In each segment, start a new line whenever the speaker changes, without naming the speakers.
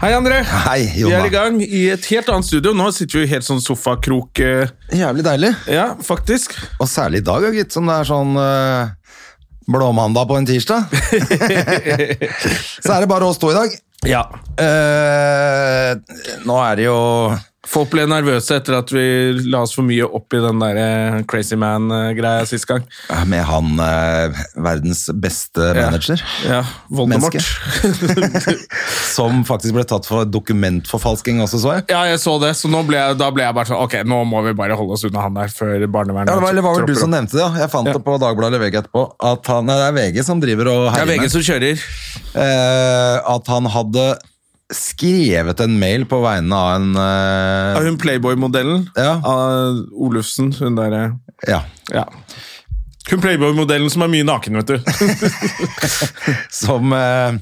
Hei, André.
Hei,
Vi er i
Jonna.
gang i et helt annet studio. Nå sitter vi i helt sånn sofakrok. eh,
Jævlig deilig.
Ja, faktisk.
Og særlig i dag, ja, gitt, som det er sånn eh, blåmandag på en tirsdag. Så er det bare oss to i dag.
Ja.
Eh, nå er det jo
Folk ble nervøse etter at vi la oss for mye opp i den der eh, Crazy Man-greia sist gang.
med han eh, verdens beste manager.
Ja, Voldemort.
Som faktisk ble tatt for dokumentforfalsking også, så jeg.
Ja, jeg så det, så nå ble jeg, da ble jeg bare sånn Ok, nå må vi bare holde oss unna han der før barnevernet
Ja, det var, eller var vel du
tropper
som
opp.
nevnte det? ja. Jeg fant
Ja.
det på Dagbladet eller VG etterpå. At han, nei, det er VG som driver og
Det er
herjer
VG
med.
som kjører.
Eh, at han hadde skrevet en mail på vegne av en eh,
Ja, hun Playboy-modellen
Ja.
av Olufsen, hun derre
Ja.
Ja. Hun Playboy-modellen som er mye naken, vet du.
Som, eh,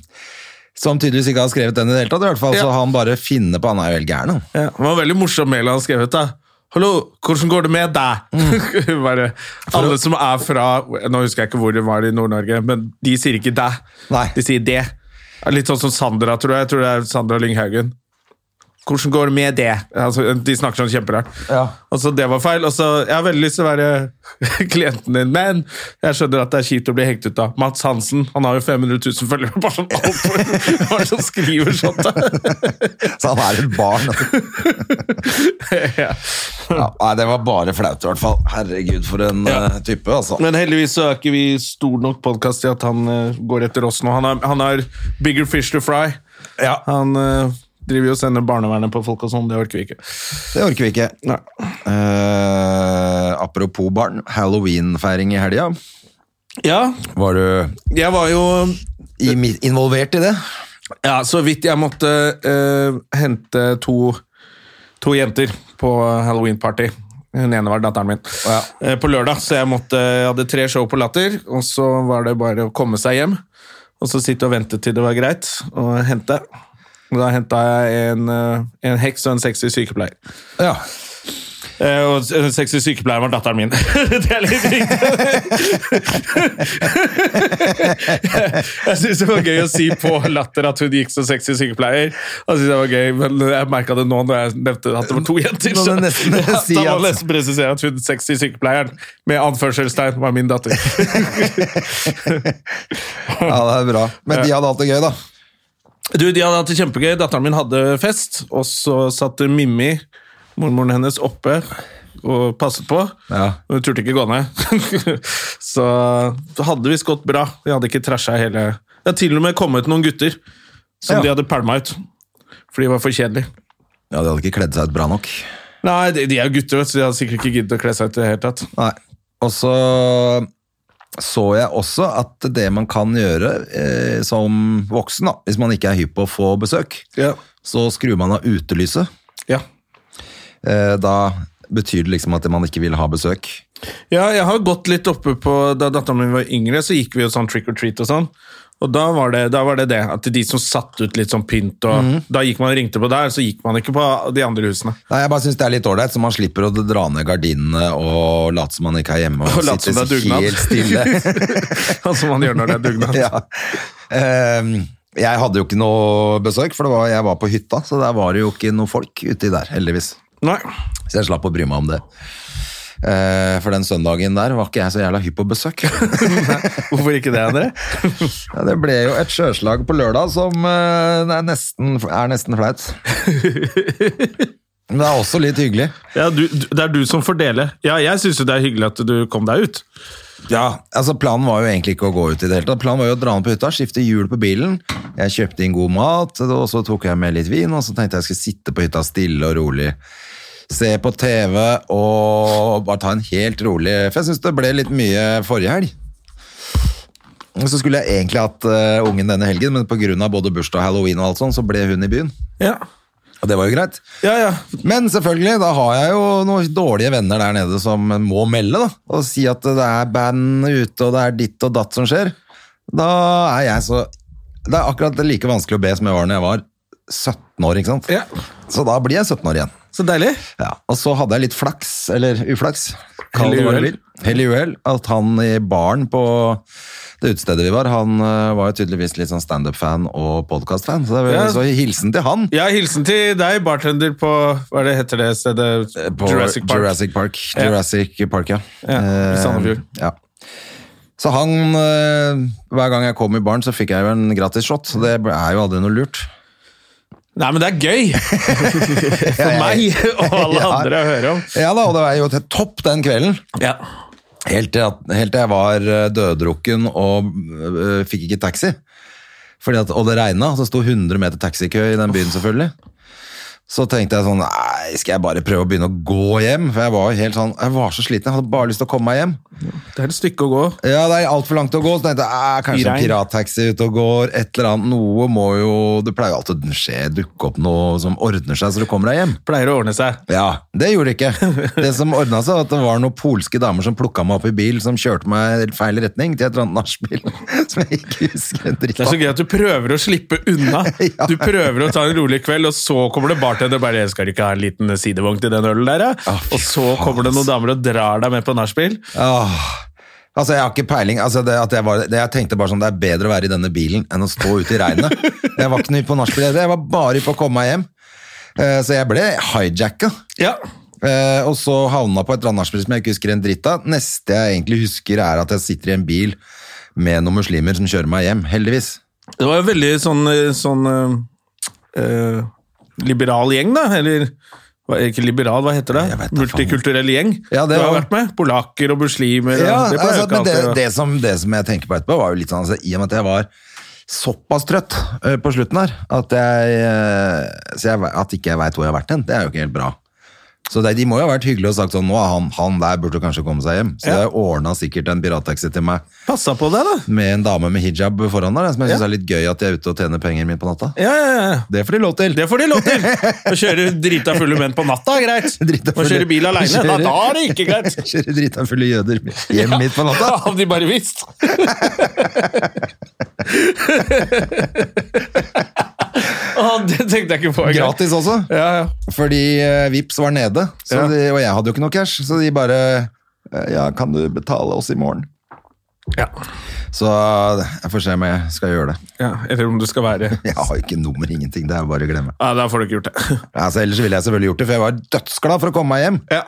som tydeligvis ikke har skrevet den i det hele tatt, i hvert fall.
Ja.
Så han bare finner på Han er jo helt gæren, han.
Ja, det var en veldig morsom mail han skrev ut, da. Hallo, hvordan går det med deg?
Mm.
Bare, alle som er fra Nå husker jeg ikke hvor det var i Nord-Norge, men de sier ikke deg.
Nei.
De sier det. Det er Litt sånn som Sandra, tror jeg. Jeg tror det er Sandra Lynghaugen. Hvordan går det med det? Altså, de snakker sånn kjemperart.
Ja.
Og så det var feil. Og så Jeg har veldig lyst til å være klienten din, men jeg skjønner at det er kjipt å bli hengt ut av. Mats Hansen, han har jo 500 000 følgere. Bare sånn alt Hva er det som skriver sånt, da?
Så han er et barn. altså.
ja.
Ja, nei, det var bare flaut, i hvert fall. Herregud, for en eh, type, altså.
Men heldigvis så er ikke vi stor nok podkast til at han eh, går etter oss nå. Han har, han har bigger fish to fry.
Ja.
Han eh, driver jo og sender barnevernet på folk og sånn, det orker vi ikke.
Det orker vi ikke.
Nei.
Eh, apropos barn, halloweenfeiring i helga.
Ja,
Var du
jeg var jo
i, involvert i det?
Ja, så vidt jeg måtte eh, hente to, to jenter på halloween-party. Hun ene var datteren min. Eh, på lørdag, så jeg, måtte, jeg hadde tre show på Latter, og så var det bare å komme seg hjem. Og så sitte og vente til det var greit å hente. Og Da henta jeg en, eh, en heks og en sexy sykepleier.
Ja.
Eh, og en sexy sykepleier var datteren min. det er litt riktig. jeg syns det var gøy å si på latter at hun gikk som sexy sykepleier. Og jeg synes det var gøy, Men jeg merka det nå når jeg nevnte at det var to jenter.
Nå må du nesten
ja,
si
da må jeg
at-
nesten presisere at hun sexy sykepleieren med anførselstegn var min datter.
ja, det er bra. Men de hadde hatt det gøy, da.
Du, De hadde hatt det kjempegøy. Datteren min hadde fest, og så satt Mimmi, mormoren hennes, oppe og passet på.
Ja.
Hun turte ikke gå ned. så det hadde visst gått bra. Vi hadde ikke trasha hele Det har til og med kommet noen gutter
Ja.
som de hadde pælma ut. For de var for kjedelige.
Ja, De hadde ikke kledd seg ut bra nok.
Nei, de, de er jo gutter, vet du, så de hadde sikkert ikke giddet å kle seg ut i det hele tatt.
Nei. Og så så jeg også at det man kan gjøre eh, som voksen, da, hvis man ikke er hypp på å få besøk,
Ja.
så skrur man av utelyset.
Ja.
Eh, da betyr det liksom at man ikke vil ha besøk.
Ja, jeg har gått litt oppe på Da datteren min var yngre, så gikk vi jo sånn trick or treat og sånn. Og da var det da var det, det at de som satt ut litt sånn pynt og Da gikk man og ringte på der, så gikk man ikke på de andre husene.
Nei, Jeg bare syns det er litt ålreit, så man slipper å dra ned gardinene og late som man ikke er hjemme. Og,
Og late som
sitte
det er dugnad.
helt stille.
Sånn som man gjør når det er dugnad.
ja. Ehm, jeg hadde jo ikke noe besøk, for det var, jeg var på hytta, så der var det jo ikke noe folk uti der, heldigvis.
Nei.
Så jeg slapp å bry meg om det. Eh, for den søndagen der var ikke jeg så jævla hypp på besøk.
Hvorfor ikke det, André?
Ja, det ble jo et sjøslag på lørdag som eh, det er nesten, er nesten flaut. Men det er også litt hyggelig.
Ja, du, du- det er du som får dele. Ja, jeg syns jo det er hyggelig at du kom deg ut.
Ja, altså Planen var jo egentlig ikke å gå ut i det hele tatt. Planen var jo å dra ned på hytta, skifte hjul på bilen. Jeg kjøpte inn god mat, og så tok jeg med litt vin, og så tenkte jeg jeg skulle sitte på hytta stille og rolig. Se på TV og bare ta en helt rolig For jeg syns det ble litt mye forrige helg. Så skulle jeg egentlig hatt eh, ungen denne helgen, men pga. både bursdag og halloween og alt sånt, så ble hun i byen.
Ja.
Og det var jo greit.
ja, ja.
Men selvfølgelig, da har jeg jo noen dårlige venner der nede som må melde, da. Og si at det er band ute, og det er ditt og datt som skjer. Da er jeg så Det er akkurat like vanskelig å be som jeg var når jeg var 17 år, ikke sant.
Ja.
Så da blir jeg 17 år igjen.
Så deilig.
Ja, og så hadde jeg litt flaks, eller uflaks, kall
Hell i
det hva du
uhell.
vil. Hell i uhell. At han i baren på det utestedet vi var, han eh, var jo tydeligvis litt sånn standup-fan og podkast-fan. Så, det var-
Ja.
så hilsen til han
Ja, hilsen til deg, bartender på Hva er det heter det stedet?
på Jurassic Park. Jurassic Park,
Ja.
Jurassic Park ja.
Ja, i Sandefjord.
Eh, ja. Så han eh, Hver gang jeg kom i baren, så fikk jeg jo en gratis shot. Så det er jo aldri noe lurt.
Nei, men det er gøy! For meg og alle
Ja.
andre å høre om.
Ja da, og det var jo til topp den kvelden.
Ja.
Helt til, at, helt til jeg var eh, døddrukken og eh, fikk ikke taxi. Fordi at, og det regna, så sto 100 meter taxikø i den byen, selvfølgelig. Så tenkte jeg sånn Nei, skal jeg bare prøve å begynne å gå hjem? For jeg var jo helt sånn, jeg var så sliten, jeg hadde bare lyst til å komme meg hjem.
Det er et stykke å gå.
Ja, det er altfor langt å gå, så tenkte jeg «Ah, kanskje en
I regn.
pirattaxi ute og går, et eller annet. Noe må jo Det pleier jo alltid å skje, dukke opp noe som ordner seg, så du kommer deg hjem.
Pleier å ordne seg.
Ja, det gjorde det ikke. Det som ordna seg, var at det var noen polske damer som plukka meg opp i bil, som kjørte meg i feil retning til et eller annet nachspiel som jeg ikke husker en dritt
Det er så
av.
gøy at du prøver å slippe unna.
Ja.
Du prøver å ta en rolig kveld, og så kommer det bartender og bare 'Skal du ikke ha en liten sidevogn til den ølen der', ja?
fy
Og så kommer det noen damer og drar deg med på nachspiel.
Åh. Altså, Jeg har ikke peiling. altså det, at jeg, var, det, jeg tenkte bare sånn, det er bedre å være i denne bilen enn å stå ute i regnet. Jeg var ikke noe på nachspiel, jeg var bare på å komme meg hjem. Eh, Så jeg ble hijacka.
Ja.
Eh, og så havna på et eller annet nachspiel som jeg ikke husker en dritt av. Neste jeg egentlig husker, er at jeg sitter i en bil med noen muslimer som kjører meg hjem. Heldigvis.
Det var en veldig sånn, eh, sånn eh, eh, liberal gjeng, da. Eller hva- ikke liberal, hva heter
Jeg vet
det?
da faen.
Multikulturell gjeng.
Ja, det
du har
var-
vært med. Polakker og muslimer. og-
Ja,
det pleier
altså,
jo ikke
men det,
alltid å-
det, som, det som jeg tenker på etterpå, var jo litt sånn altså, I og med at jeg var såpass trøtt eh, på slutten her, at, jeg, eh, så jeg, ve- at ikke jeg veit hvor jeg har vært hen, det er jo ikke helt bra. Så det, De må jo ha vært hyggelige og sagt sånn Nå er han, han der burde kanskje komme seg hjem. Så
Ja.
jeg ordna sikkert en pirattaxi til meg
Passa på deg, da.
med en dame med hijab foran der, som jeg syns
Ja.
er litt gøy at de er ute og tjener penger mine på natta.
Ja, ja, ja.
Det får de lov til.
Det får de lov til! Å kjøre drita fulle menn på natta er greit.
Drita
Å
fulle-
kjøre bil aleine,
Kjøre-
da er det ikke greit.
Kjører drita fulle jøder hjem midt på natta.
Hadde de bare visst! Å, det tenkte jeg ikke på engang.
Gratis også.
Ja, ja.
Fordi eh, Vips var nede, så
Ja.
de, og jeg hadde jo ikke noe cash, så de bare eh, Ja, kan du betale oss i morgen?
Ja.
Så jeg får se om jeg skal gjøre det.
ja. Eller om du skal være
Jeg har jo ikke nummer, ingenting. Det er jo bare å glemme.
Ja, da får du ikke gjort det.
Altså, ellers ville jeg selvfølgelig gjort det, for jeg var dødsglad for å komme meg hjem.
Ja.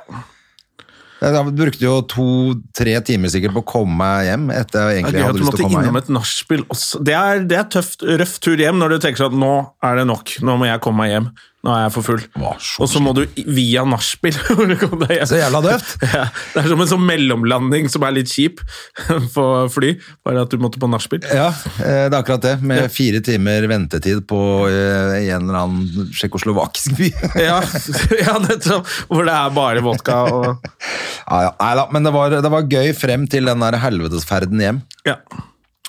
Jeg brukte jo to-tre timer sikkert på å komme meg hjem etter jeg
Det er
egentlig
gøy at
hadde
du
lyst
måtte
til å komme meg
innom
hjem.
et nachspiel også. Det er, det er tøft, røff tur hjem når du tenker sånn Nå er det nok. Nå må jeg komme meg hjem. Nå er jeg for full.
Var så
Og så må du i- via nachspiel for å komme deg hjem.
Så jævla døvt.
Ja, det er som en sånn mellomlanding som er litt kjip for fly. Bare at du måtte på nachspiel.
Ja, eh, det er akkurat det. Med fire timer ventetid på eh, i en eller annen tsjekkoslovakisk by.
Ja, ja nettopp. Hvor det er bare vodka og
Ja, ja. Nei da, men det var, det var gøy frem til den der helvetesferden hjem.
Ja.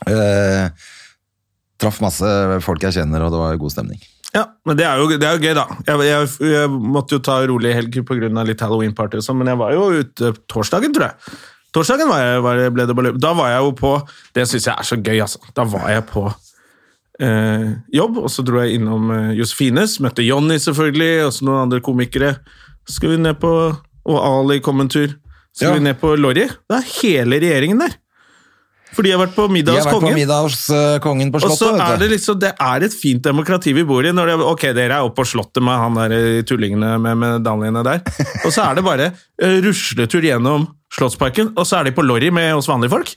Eh, traff masse folk jeg kjenner, og det var god stemning.
Ja, men det er jo, det er jo gøy, da. Jeg, jeg, jeg måtte jo ta rolig helg pga. litt halloween-party og sånn, men jeg var jo ute torsdagen, tror jeg. Torsdagen var jeg, var, ble det bare Da var jeg jo på Det syns jeg er så gøy, altså. Da var jeg på eh, jobb, og så dro jeg innom eh, Josefines. Møtte Jonny, selvfølgelig, og så noen andre komikere. Så Skal vi ned på Og Ali kom en tur. Så
Ja.
Skal vi ned på Lorry. Det er hele regjeringen der. For de har vært på middag
Jeg har
hos
vært på
kongen.
middag hos eh, kongen på
Og så
Slottet.
er
vet
det
du.
liksom, det er et fint demokrati vi bor i. Når det, ok, dere er oppe på slottet med han der eh, tullingene med medaljene der. Og så er det bare eh, rusletur gjennom Slottsparken, og så er de på lorry med oss vanlige folk.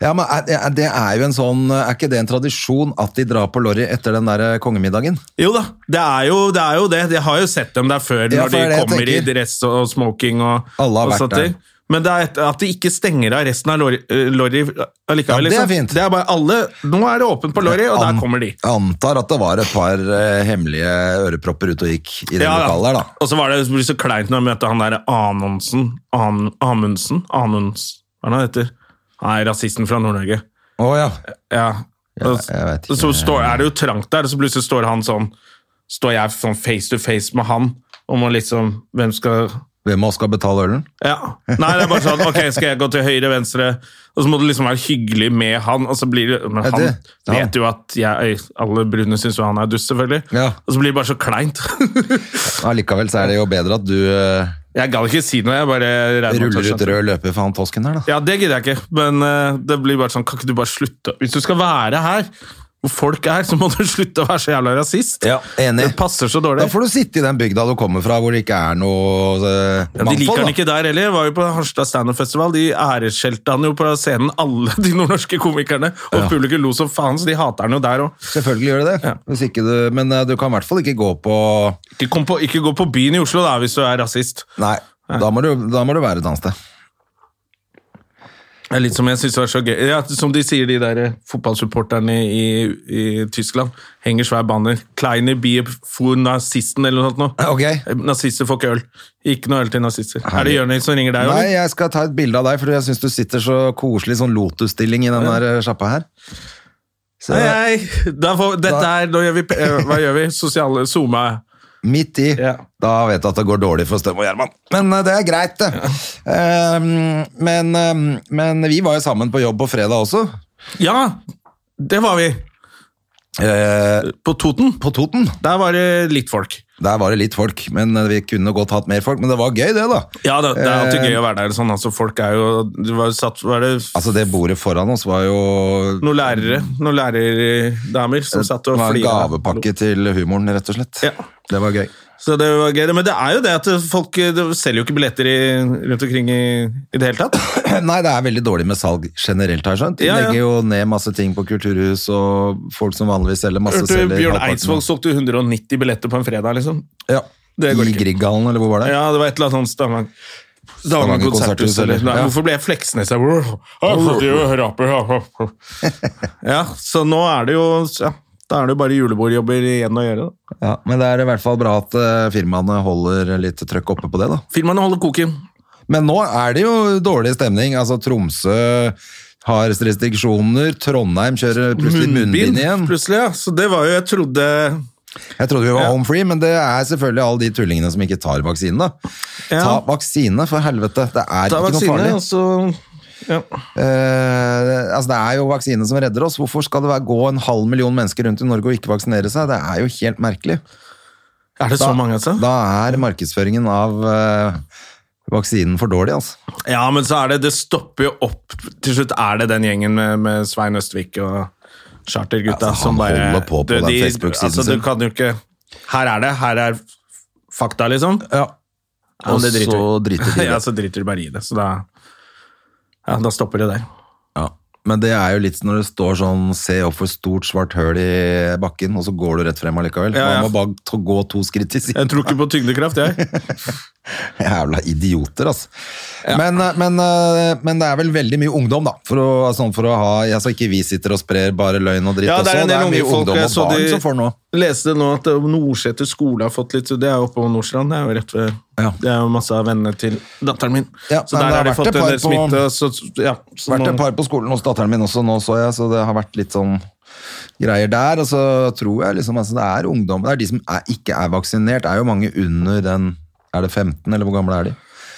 Ja, men er, er- det er jo en sånn Er ikke det en tradisjon at de drar på lorry etter den der eh, kongemiddagen?
Jo da, det er jo det. Er jo det. Jeg har jo sett dem der før,
Ja, for
når de
det er det jeg
kommer i
tenker.
dress og smoking og,
Alle har
og
vært
sånt
der.
ting. Men det er et, at de ikke stenger av resten av lorry, eh, lorry allikevel.
Ja, det er
liksom.
fint.
Det er bare alle, Nå er det åpent på lorry, og
An-
der kommer de.
Antar at det var et par eh, hemmelige ørepropper ute og gikk i det
Ja, ja.
lokalet der, da.
Og så var det, det ble så kleint når jeg møtte han der Anundsen. An, Amundsen? Anunds... Hva er det han heter? Nei, rasisten fra Nord-Norge.
Å ja.
Ja. Og
jeg vet ikke.
så står, er det jo trangt der, og så plutselig står han sånn Står jeg sånn face to face med han om å liksom Hvem skal
Hvem av oss skal betale ølen?
Ja. Nei, det er bare sånn Ok, skal jeg gå til høyre, venstre? Og så må du liksom være hyggelig med han, og så blir det Men
Ja,
han
det- ja.
vet jo at jeg Alle brune syns jo han er dust, selvfølgelig.
Ja.
Og så blir det bare så kleint.
Allikevel så er det jo bedre at du eh,
Jeg gadd ikke si noe, jeg bare regner med at
ruller
jeg
ut
skjønte.
rød løper for han tosken her, da.
Ja, det gidder jeg ikke, men eh, det blir bare sånn Kan ikke du bare slutte? Hvis du skal være her, hvor folk er, så må du slutte å være så jævla rasist.
Ja, enig.
Det passer så
Da
dårlig.
får du sitte i den bygda du kommer fra, hvor det ikke er noe eh,
Ja, de liker
mangfold.
han
da.
ikke der heller. Jeg var jo på Harstad Standup Festival. De æreskjelte han jo på scenen, alle de nordnorske komikerne. Og publikum lo som faen, så de hater han jo der òg.
Selvfølgelig gjør det det. Hvis ikke du, men eh, du kan i hvert fall ikke gå på
Ikke, kom på- ikke gå på byen i Oslo da, hvis du er rasist.
Nei, da må du, da må du være et annet sted.
Det er litt som jeg synes var så gøy. Ja, som de sier, de der eh, fotballsupporterne i, i Tyskland. Henger svær banner. 'Kleine Bier for nazisten' eller noe sånt. Nå.
Ok.
Nazister får ikke øl. Ikke noe øl til nazister. Er det Jørnis som ringer deg?
Nei,
eller?
jeg skal ta et bilde av deg, for jeg syns du sitter så koselig i sånn lotusstilling i den der eh, sjappa her. Så,
Nei, nei. Da får, dette
Da-
er, nå gjør vi, p- eh, hva gjør vi? Sosiale zooma.
Midt i.
Ja.
Da vet du at det går dårlig for Støm og Gjerman. Men eh, det er greit, det. Ehm, men, ehm, men vi var jo sammen på jobb på fredag også.
Ja, det var vi.
Eh,
På Toten.
på Toten.
Der var det litt folk.
Der var det litt folk, men eh, vi kunne godt hatt mer folk. Men det var gøy, det, da.
Ja, det, det er alltid gøy å være der. Sånn, altså, folk er jo det var jo satt, var det f-
Altså, det bordet foran oss var jo
noen lærere, noen lærerdamer som satt
Eh, det
og
var en
flira.
gavepakke til humoren, rett og slett.
Ja.
Det var gøy.
Så det var gøy. Men det er jo det at folk det selger jo ikke billetter i, rundt omkring i, i det hele tatt.
Nei, det er veldig dårlig med salg generelt, har jeg skjønt. De
Ja, ja.
legger jo ned masse ting på kulturhus, og folk som vanligvis selger masse
Hørte
selger
Bjørn
halvparten.
Eidsvåg solgte 190 billetter på en fredag, liksom.
Ja.
Det går
I
ikke.
Grieghallen, eller hvor var det?
Ja, det var et eller annet sånt Stavanger. Stavanger
Stavanger konserthus,
konserthus, eller?
eller?
Nei,
Ja.
Hvorfor ble jeg Fleksnes? Jeg bror? Jeg satt jo og rapet, ja. Ja, så nå er det jo ja, Da er det jo bare julebordjobber igjen å gjøre. da.
Ja, men det er i hvert fall bra at eh, firmaene holder litt trøkk oppe på det, da.
Firmaene holder koken.
Men nå er det jo dårlig stemning. Altså, Tromsø har restriksjoner, Trondheim kjører plutselig munnbind igjen.
plutselig, ja. Så det var jo Jeg trodde
Jeg trodde vi var
Ja.
home free, men det er selvfølgelig alle de tullingene som ikke tar vaksinen, da.
Ja.
Ta vaksine, for helvete. Det er
Ta
ikke noe
vaksine, altså.
farlig.
og så ja.
Eh, altså, det er jo vaksine som redder oss. Hvorfor skal det være, gå en halv million mennesker rundt i Norge og ikke vaksinere seg? Det er jo helt merkelig.
Er det så mange, altså?
Da er markedsføringen av eh, vaksinen for dårlig, altså.
Ja, men så er det Det stopper jo opp. Til slutt er det den gjengen med, med Svein Østvik og chartergutta
Ja, altså,
som
han
bare
holder på på den Facebook-siden
altså,
sin.
Du kan jo ikke Her er det. Her er fakta, liksom. Ja,
Og
men det driter
så
vi.
driter de i det.
ja, altså. så driter de bare i det. Så da, ja, da stopper det der.
Ja. Men det er jo litt når det står sånn 'se opp for stort svart høl i bakken', og så går du rett frem allikevel.
Ja, ja.
Man må bare to- gå to skritt til siden.
Jeg tror ikke på tyngdekraft, jeg.
Jævla idioter, altså. Men, eh, men, eh, men det er vel veldig mye ungdom, da. For å, sånn for å ha altså Ikke vi sitter og sprer bare løgn og dritt
Ja,
også.
det er en del unge
mye
folk,
ungdom
jeg
og
så
barn
de-
som får noe.
Leste nå at Nordseter skole har fått litt Det er oppe på Nordstrand. Det er jo rett ved
Ja.
Det er jo masse av vennene til datteren min.
Ja,
så
men
der
det har
har de
vært et
fått en
par
del
på-
smitte. Så, ja, så
vært
nå-
et par på skolen hos datteren min også nå, så jeg, så det har vært litt sånn greier der. Og så tror jeg liksom, altså det er ungdom, det er de som er, ikke er vaksinert, det er jo mange under den, er det 15, eller hvor gamle er de?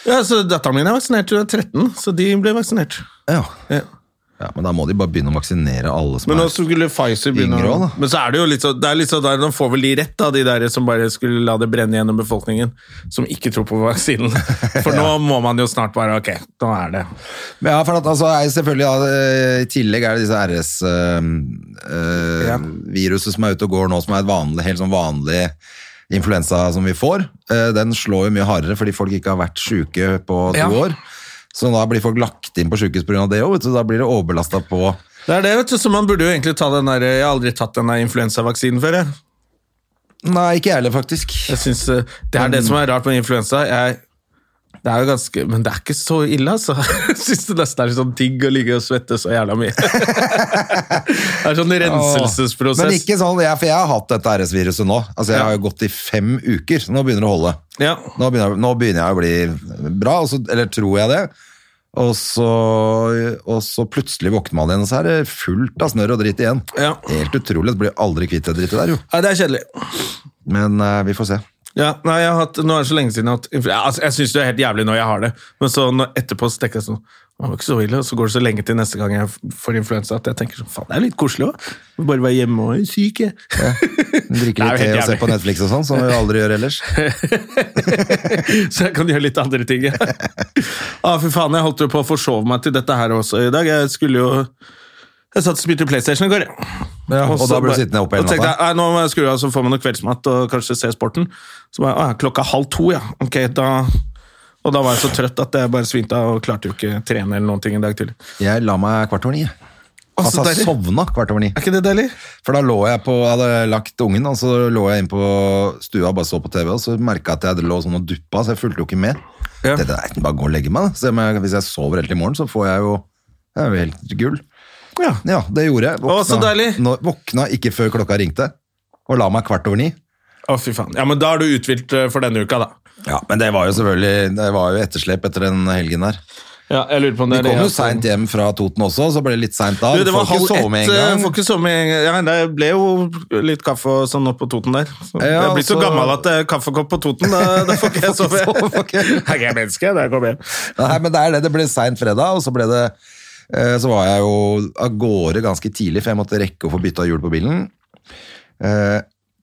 ja, så datteren min er vaksinert til hun er 13, så de ble vaksinert.
Ja.
Ja.
ja, men da må de bare begynne å vaksinere alle som
Men nå
er.
skulle Pfizer begynne
Yngre
å
også, da.
Men så er det jo litt sånn det er litt sånn der, De får vel de rett, da, de der som bare skulle la det brenne gjennom befolkningen. Som ikke tror på vaksinen. For nå må man jo snart bare Ok, nå er det
Men Ja, for at, altså, er jo selvfølgelig, ja, eh, i tillegg er det disse
Ja.
RS-viruset eh, som er ute og går nå, som er et vanlig, helt sånn vanlig influensa som vi får. Eh, Den slår jo mye hardere fordi folk ikke har vært syke på to
Ja.
år. Så da blir folk lagt inn på sykehus pga. det òg, da blir det overbelastet på
Det er det, vet du. Så man burde jo egentlig ta den der Jeg har aldri tatt den der influensavaksinen før, jeg.
Nei, ikke jeg heller, faktisk.
jeg synes, eh, det er det som er rart med influensa. Jeg det er jo ganske, Men det er ikke så ille, altså. Jeg syns det nesten er sånn digg å ligge og svette så jævla mye. Det er sånn renselsesprosess.
Men ikke sånn, jeg, for jeg har hatt dette RS-viruset nå. Altså, jeg
Ja.
har jo gått i fem uker, så nå begynner det å holde.
Ja.
Nå begynner, jeg- nå begynner jeg å bli bra, og så, eller tror jeg det. Og så, og så plutselig våkner man igjen, og så er det fullt av snørr og dritt igjen.
Ja.
Helt utrolig. Du blir aldri kvitt det drittet der, jo.
Nei, det er kjedelig.
Men eh, vi får se.
Ja, nei, jeg har hatt, Nå er det så lenge siden jeg har hatt influ- ja, altså, Jeg syns det er helt jævlig når jeg har det, men så når, etterpå så tenker jeg sånn det var ikke så ille, og så går det så lenge til neste gang jeg f- får influensa at jeg tenker sånn Faen, det er litt koselig òg. Bare være hjemme og være syk, jeg.
Drikke litt
Det
te
er jo helt
og se
jævlig.
på Netflix og sånn, som vi aldri gjør ellers.
så jeg kan gjøre litt andre ting. Ja. ah, fy faen, jeg holdt jo på å forsove meg til dette her også i dag. Jeg skulle jo Jeg satt og spilte PlayStation i går, jeg.
Ja, og
så
da ble du
bare-
sittende oppe hele
og tenkte jeg,
natta.
Nei, nå må jeg skru av så får man noe kveldsmat og kanskje se sporten. Så bare, ah, klokka halv to, ja. Ok, da... Og da var jeg så trøtt at jeg bare svimte av og klarte jo ikke trene eller noen ting en dag tidlig.
Jeg la meg kvart over ni. jeg.
Å, så
Altså,
deilig.
sovna kvart over ni.
Er ikke det deilig?
For da lå jeg på, jeg hadde lagt ungen, og så lå jeg inn på stua og bare så på TV, og så merka jeg at jeg hadde lå sånn og duppa, så jeg fulgte jo ikke med.
Ja.
Tenkte, nei, bare gå og legge meg, da. Se om jeg, hvis jeg sover helt til i morgen, så får jeg jo Jeg er jo helt gull.
Ja.
Ja, det gjorde jeg.
Å, så deilig.
nå, våkna ikke før klokka ringte, og la meg kvart over ni.
Å, fy faen. Ja, men da er du uthvilt eh, for denne uka, da.
Ja, Men det var jo selvfølgelig Det var jo etterslep etter den helgen der.
Ja, jeg lurer på om
Vi
det er
kom jo
jeg-
seint hjem fra Toten også, så ble det litt seint da.
Du, det
Får
var
ikke
halv
sove
ett.
med en
eh,
gang.
Får ikke sove med en gang. Ja, det ble jo litt kaffe og sånn oppå Toten der. Så jeg
Ja,
er blitt så
altså-
gammel at det er kaffekopp på Toten, da, da får ikke jeg sove.
Får ikke sove, ok.
Jeg er ikke menneske, da jeg kommer hjem.
Nei, men det er det. Det ble seint fredag, og så ble det eh, Så var jeg jo av gårde ganske tidlig, for jeg måtte rekke å få bytta hjul på bilen. Eh,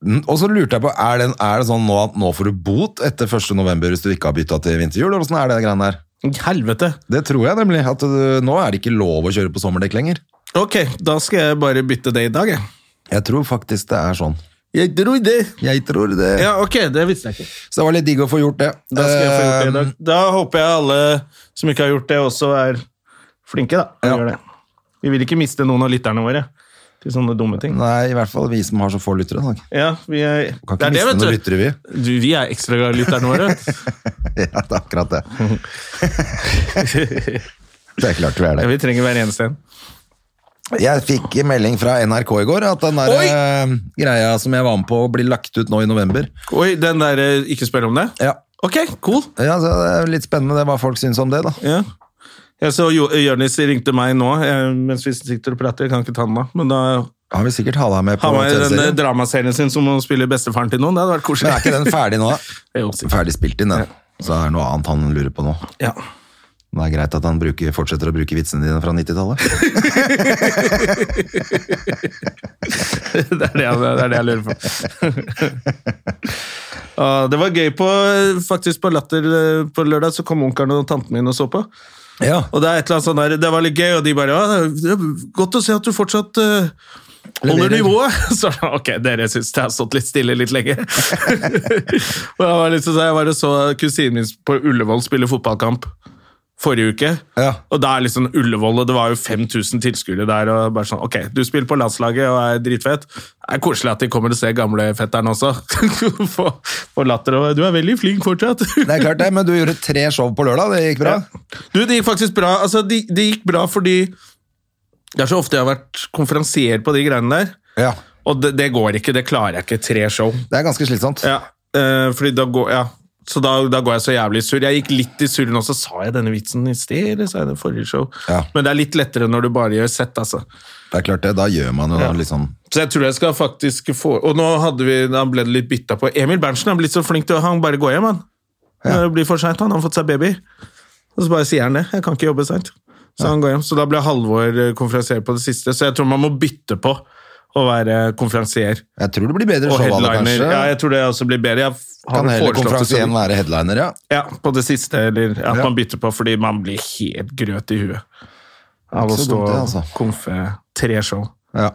n- og så lurte jeg på, er det, er det sånn nå at nå får du bot etter 1. november hvis du ikke har bytta til vinterhjul? Eller hvordan er det greiene der?
Helvete.
Det tror jeg nemlig. At du, nå er det ikke lov å kjøre på sommerdekk lenger.
Ok, da skal jeg bare bytte det i dag, jeg.
Jeg tror faktisk det er sånn.
Jeg dro i det.
Jeg tror det.
Ja, ok, det visste jeg ikke.
Så det var litt digg å få gjort det.
Da skal jeg få gjort det i dag.
Eh,
Ehm, Da håper jeg alle som ikke har gjort det, også er flinke, da. og
Ja.
Gjør det. Vi vil ikke miste noen av lytterne våre til sånne dumme ting.
Eh, Nei, i hvert fall vi som har så få lyttere. da.
Ja, vi er,
Kan ikke
det er det,
miste noen
vet du.
lyttere, vi.
Du, vi er ekstra glad i lytterne våre.
Ja, det er akkurat det. det er klart vi er
Ja,
det.
vi trenger hver eneste en.
Jeg fikk en melding fra NRK i går at den der,
Oi!
eh, greia som jeg var med på, blir lagt ut nå i november.
Oi, den der eh, ikke spør om det?
Ja,
Ok, cool.
ja så det er litt spennende det hva folk syns om det, da.
Ja. Jeg så jo, Jørnis ringte meg nå eh, mens vi sitter og prater. Jeg kan ikke ta den da, men da
Han vil sikkert ha deg med på
har man den eh,
TV-serien.
dramaserien sin som å spille bestefaren til noen. Det hadde vært
Men
koselig.
er ikke den ferdig nå, da?
Jo, sikkert.
Ferdig spilt inn, den. Så det er noe annet han lurer på nå.
Ja.
Det er greit at han bruker, fortsetter å bruke vitsene dine fra 90-tallet.
Det er det, jeg, det er det jeg lurer på. Ah, det var gøy på, faktisk på Latter eh, på lørdag, så kom onkelen og tanten min og så på.
Ja,
Og Det er et eller annet sånn der, det var litt gøy, og de bare ja, det er Godt å se at du fortsatt eh, holder
Leverer.
nivået! Så jeg, ok, dere syns det har stått litt stille litt lenge. og jeg var liksom, sånn, jeg bare så kusinen min på Ullevål spille fotballkamp forrige uke.
Ja.
Og da er liksom Ullevål, og det var jo 5000 tilskuere der. og bare sånn, ok, Du spiller på landslaget og er dritfett. Det er koselig at de kommer og ser gamlefetteren også. Få få latter og Du er veldig flink fortsatt.
det er klart det, men du gjorde tre show på lørdag, det gikk bra.
Du, det gikk faktisk bra. Altså, det, det gikk bra fordi det er så ofte jeg har vært konferansier på de greiene der,
Ja,
og det, det går ikke. Det klarer jeg ikke. Tre show.
det er ganske slitsomt.
Ja, eh, fordi da går, ja. Så da, da går jeg så jævlig sur. Jeg gikk litt i surren også. Sa jeg denne vitsen i sted, eller sa jeg den forrige show?
Ja.
Men det er litt lettere når du bare gjør sett, altså.
Det er klart det, da gjør man jo
Ja.
liksom
Så jeg tror jeg skal faktisk få Og nå hadde vi, da ble det litt bytta på. Emil Berntsen er blitt så flink til å Han bare går hjem, han. Det blir for seint, han har fått seg baby. Og så bare sier han det. Jeg kan ikke jobbe seint. Så han går hjem. Så da ble Halvor eh, konferansier på det siste. Så jeg tror man må bytte på å være konferansier
Jeg tror det blir bedre
og
show av det,
headliner.
kanskje.
Ja, jeg tror det også blir bedre. Jeg har
kan
vel
heller
foreslått det som-
konferansien være headliner, ja.
Ja, på det siste, eller at
Ja.
man bytter på, fordi man blir helt grøt i huet av
Ikke
å
så
stå
dumt, det, altså.
og konfe tre show.
ja.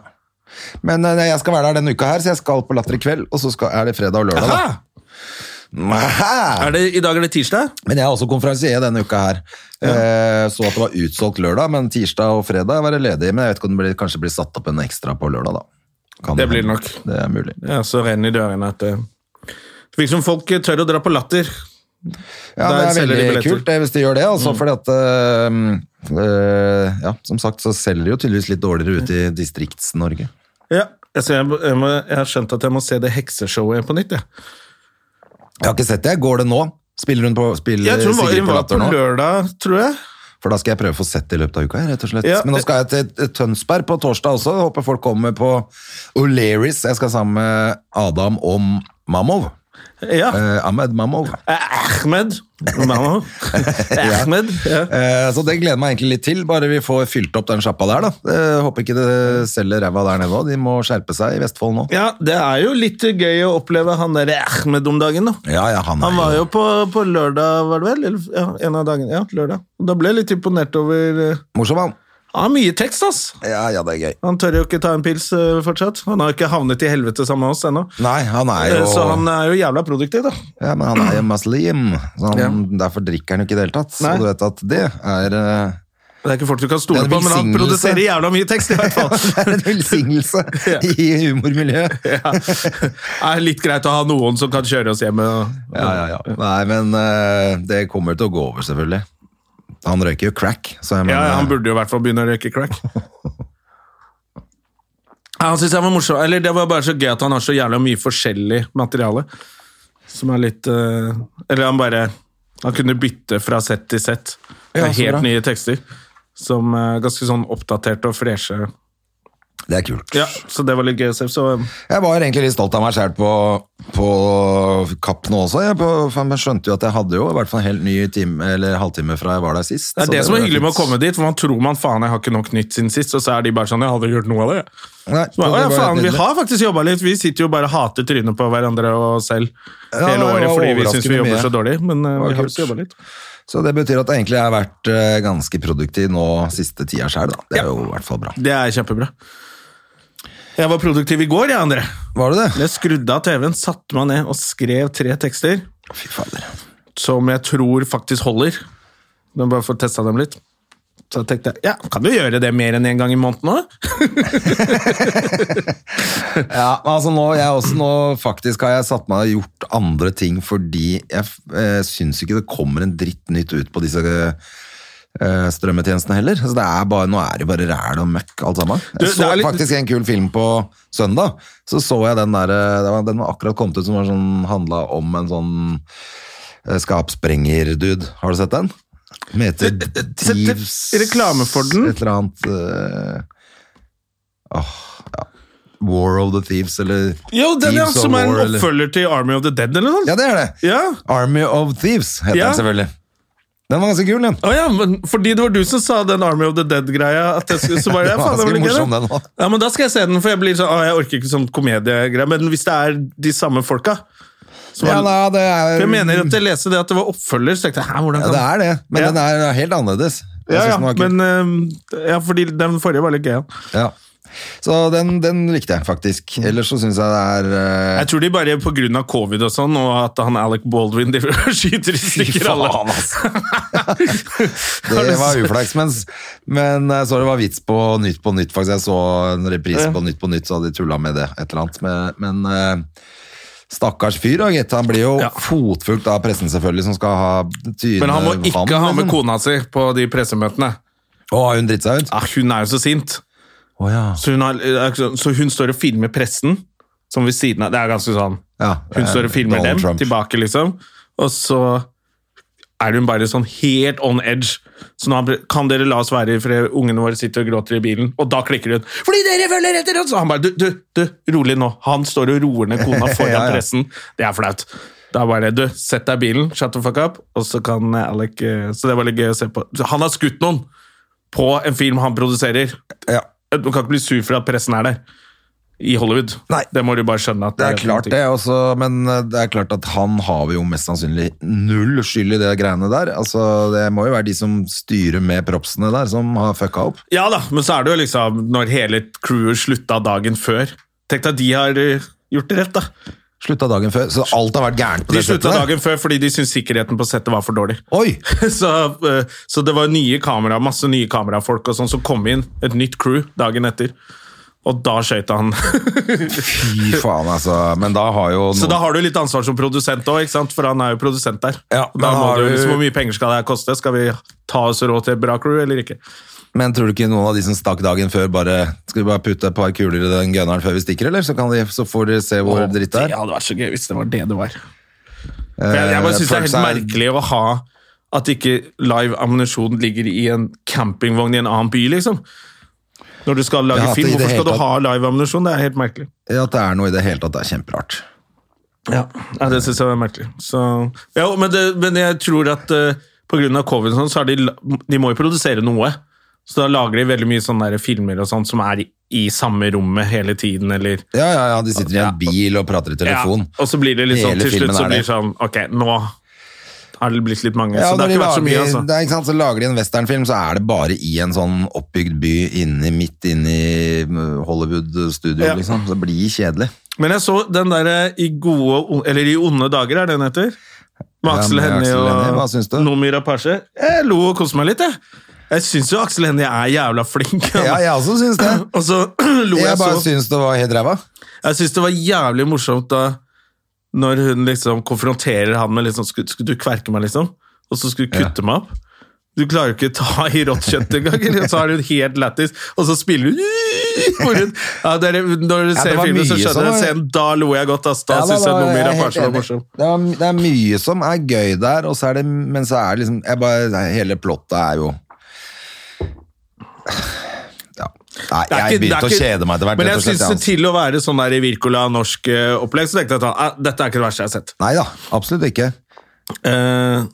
Men eh, jeg skal være der denne uka her, så jeg skal på Latter i kveld, og så skal, er det fredag og lørdag. Da.
Aha!
Aha!
Er det, I dag er det tirsdag?
Men jeg er også konferansier denne uka her. Eh, Så at det var utsolgt lørdag, men tirsdag og fredag var det ledig. Men jeg vet ikke om det blir, kanskje blir satt opp en ekstra på lørdag, da. Kan
Det blir
hende.
nok.
Det er mulig.
Ja, så renner i dørene at det det virker som folk tør å dra på latter.
Ja,
Der
det er
selger de
veldig
billetter. Mm.
kult det, hvis de gjør det, altså, fordi at eh, eh, Ja, som sagt så selger de jo tydeligvis litt dårligere ute i Distrikts-Norge.
Ja, altså jeg, jeg, må, jeg har skjønt at jeg må se det hekseshowet på nytt. Jeg,
Jeg har ikke sett det. Går det nå? Spiller hun på spiller
jeg tror hun var,
Sigrid
hun
på
var på
Latter nå?
lørdag, tror jeg.
For da skal jeg prøve å få sett det i løpet av uka. jeg, rett og slett.
Ja.
Men nå skal jeg til Tønsberg på torsdag også. Håper folk kommer på O'Learys. Jeg skal sammen med Adam om Mamov.
Ja.
Eh, Ahmed Mamov.
Eh, Ahmed. Mamma. Ahmed. Ja.
Eh, så det gleder meg egentlig litt til, bare vi får fylt opp den sjappa der, da. Eh, håper ikke det selger ræva der nede òg. De må skjerpe seg i Vestfold nå.
ja, det er jo litt gøy å oppleve han derre Ahmed om dagen, da.
Ja, ja, han, er
Han var jo på, på lørdag, var det vel? Eller, ja, en av dagene. Ja, lørdag. Da ble jeg litt imponert over eh,
morsom, han.
Han har mye tekst, ass!
Ja, ja, det er gøy.
Han tør jo ikke ta en pils eh, fortsatt. Han har ikke havnet i helvete sammen med oss ennå.
Nei, han er
Eh,
jo
Så han er jo jævla produktiv, da.
Ja, men han er jo muslim, så han, derfor drikker han jo ikke i det hele tatt. Så
Nei.
du vet at det er eh,
Det er ikke folk du kan stole
Det er en
på, men han
velsignelse.
produserer jævla mye tekst, i
Det
hvert fall.
er en velsignelse
Ja.
i humormiljøet.
Ja. Det er litt greit å ha noen som kan kjøre oss hjem. eh. og-
Ja, ja, ja. Nei, men eh, det kommer til å gå over, selvfølgelig. Han røyker jo crack, så jeg mener
Ja, ja, han burde jo i hvert fall begynne å røyke crack. Ja, han synes jeg var morsom. Eller det var bare så gøy at han har så jævla mye forskjellig materiale. Som er litt eh, Eller han bare Han kunne bytte fra sett til sett. Det
Ja,
er
så bra.
helt nye tekster. Som er ganske sånn oppdaterte og freshe.
Det er kult.
Ja, så det var litt gøy å se. Så eh,
Jeg var egentlig litt stolt av meg sjæl på, på Kapp nå også. Jeg, på, for jeg skjønte jo at jeg hadde jo i hvert fall en helt ny time, eller halvtime fra jeg var der sist.
det er
så
det, som
var
er hyggelig med å
fint.
komme dit, for man tror man faen jeg har ikke nok nytt siden sist, og så er de bare sånn Jeg hadde gjort noe av det. jeg».
Nei, det
Så, bare, «Å ja,
var helt
faen, vi
nydelig.
har faktisk jobba litt. Vi sitter jo bare og hater trynet på hverandre og oss selv
Ja,
hele
det
året
var
fordi vi syns
overraskende
vi jobber
mye.
så dårlig. Men eh,
var
vi har
kult.
også jobba litt.
Så det betyr at jeg egentlig har vært eh, ganske produktiv nå siste tida sjøl, da. Det er jo i hvert fall bra.
Det er kjempebra. Jeg var produktiv i går, jeg, André.
Var du det?
Jeg skrudde av TV-en, satte meg ned og skrev tre tekster
Fy fader.
som jeg tror faktisk holder. Men bare for å teste dem litt. Så jeg tenkte jeg, ja, kan du gjøre det mer enn én gang i måneden òg?
Ja, men altså nå, jeg også, nå faktisk har jeg satt meg og gjort andre ting fordi jeg eh, syns ikke det kommer en dritt nytt ut på disse eh, strømmetjenestene heller. Altså det er bare, nå er det bare ræl og møkk alt sammen.
Du,
Jeg
det
så
er litt-
faktisk en kul film på søndag. Så så jeg den der, eh, det var- den var akkurat kommet ut som var sånn, handla om en sånn eh, skapsprenger-dude. Har du sett den? Den heter Thieves
reklame for den.
Et eller annet eh, åh, ja. War of the Thieves, eller
Jo, den ja,
Thieves of
som er en
War, eller-
oppfølger til Army of the Dead, eller noe sånt.
Ja, det er det.
Ja.
Army of Thieves heter
Ja.
den selvfølgelig. Den var ganske kul, den.
Å ja, men fordi det var du som sa den Army of the Dead-greia. at jeg skulle- så bare,
Det
ja,
var
faen, det var
ganske
litt gøy,
morsom,
det.
den òg.
Ja, men Da skal jeg se den, for jeg blir sånn, «Å, jeg orker ikke sånn komediegreier. Men hvis det er de samme folka som
Ja,
er-
nei, det er
For Jeg mener at jeg leste det at det var oppfølger, så tenkte jeg hæ, hvordan
ja,
kan
det er det, men
Ja.
den er helt annerledes. Jeg
Ja,
synes
ja,
den var kul.
men, eh, ja, fordi den forrige var litt gøy. ja.
ja. Så den, den likte jeg faktisk. Ellers så syns jeg det er eh,
Jeg tror de bare på grunn av covid og sånn, og at han Alec Baldwin driver og skyter i stykker alle.
faen, Det var uflaks, men, men jeg så det var vits på Nytt på Nytt, faktisk. Jeg så en reprise på Nytt på Nytt, så hadde de tulla med det et eller annet. Men, men eh, stakkars fyr, da, gitt. Han blir jo
Ja.
fotfulgt av pressen, selvfølgelig, som skal ha tyne
Men han må ikke
vann,
ha med
liksom.
kona si på de pressemøtene.
Å, har hun dritt seg ut?
Ah, hun er jo så sint.
Å ja.
Så hun, har, eh, så hun står og filmer pressen, som ved siden av Det er ganske sånn
ja. eh,
Hun står og filmer
Donald
dem
Trump.
tilbake, liksom. Og så er hun bare sånn helt on edge. Så nå han- kan dere la oss være i fred, ungene våre sitter og gråter i bilen. Og da klikker hun. Fordi dere følger etter oss! Og han bare du, du, du, rolig nå. Han står og roer ned kona foran
Ja, ja.
pressen. Det er flaut. Da er bare du, sett deg i bilen, shut the fuck up, og så kan eh, Alec eh, Så det var litt gøy å se på. Så Han har skutt noen på en film han produserer.
Ja.
Du kan ikke bli sur for at pressen er der. I Hollywood.
Nei.
Det må du bare skjønne. at
Det er
noen
klart
ting.
det, også, men eh, det er klart at han har jo mest sannsynlig null skyld i det greiene der. Altså, det må jo være de som styrer med propsene der, som har fucka opp.
Ja da, men så er det jo liksom når hele crewet slutta dagen før. Tenk deg at de har eh, gjort det rett, da.
Slutta dagen før, så alt har vært gærent på
De
det
slutta
settet der.
dagen før fordi de syntes sikkerheten på settet var for dårlig.
Oi!
Så, eh, så det var nye kamera, masse nye kamerafolk og sånn som kom inn. Et nytt crew dagen etter. Og da skøyt han.
Fy faen, altså. Men da har jo
Så
noen-
da har du litt ansvar som produsent òg, for han er jo produsent der.
Ja,
da
men
må
har
du, jo
du-
liksom, Hvor mye penger skal det her koste? Skal vi ta oss råd til et bra crew eller ikke?
Men tror du ikke noen av de som stakk dagen før, bare Skal vi bare putte et par kuler i den gunneren før vi stikker, eller? Så, kan de, så får de se hvor dritt det er. Eh,
hadde vært så gøy hvis det var det det var. For jeg, jeg bare synes det er
Folk
helt merkelig å ha At ikke live ammunisjon ligger i en campingvogn i en annen by, liksom. Når du skal
Ja,
lage
at
film,
i det
hvorfor skal
hele
du ha live ammunisjon? Det er helt merkelig.
At det er noe i det hele tatt, det er kjemperart.
Ja, Nei, det syns jeg var merkelig. Så, ja, men, det, men jeg tror at eh, på grunn av covid og sånn, så har de, la- de må jo produsere noe. Så da lager de veldig mye sånne der filmer og sånt som er i, i samme rommet hele tiden, eller
Ja, ja, ja, de sitter i en bil og prater i telefon.
Ja, og så blir det litt sånn,
Hele
til slutt
filmen
så
er
blir
det.
det sånn Ok, nå har det blitt litt mange.
Ja,
så det
når
har
de
ikke vært så mye,
lager-
altså.
det er ikke sant, så lager de en westernfilm, så er det bare i en sånn oppbygd by inne, midt inne i uh, Hollywood-studio,
Ja.
liksom. Så det blir kjedelig.
Men jeg så den derre I gode Eller I onde dager, er det den heter? Med
Ja,
Aksel
med
Hennie
Aksel Hennie. Hva syns
og
du?
Noomi Rapace. Jeg lo og koste meg litt, jeg. Jeg syns jo Aksel Hennie er jævla flink. han.
Ja, jeg også syns det.
Og så lo jeg,
Jeg bare
så.
syns det var helt ræva.
Jeg syns det var jævlig morsomt da når hun liksom konfronterer han med liksom Skulle, skulle du kverke meg, liksom? Og så skulle du kutte meg opp? Du klarer jo ikke å ta i rått kjøtt engang, eller så er det jo helt lættis. Og så spiller du hvor hun- ja, dere, Når du
Ja, det
ser
var
filmen, så
mye sånn.
skjønner
som
jeg
var-
scenen. Da lo jeg godt. ass. Da
Ja,
syns jeg
var-
Noomi
jeg er helt
Rapace var
enig.
morsom.
Det er, det er mye som er gøy der, og så er det, men så er det liksom jeg bare, nei, Hele plottet er jo ja. Nei,
Det
jeg
er ikke- det
begynte
er
å
ikke-
kjede meg etter hvert. rett
Men jeg
og slett, altså.
syns det
Hans.
til å være sånn der i Wirkola norsk eh, opplegg, så tenkte jeg at ah, dette er ikke det verste jeg har sett.
Nei da, absolutt ikke.
Eh,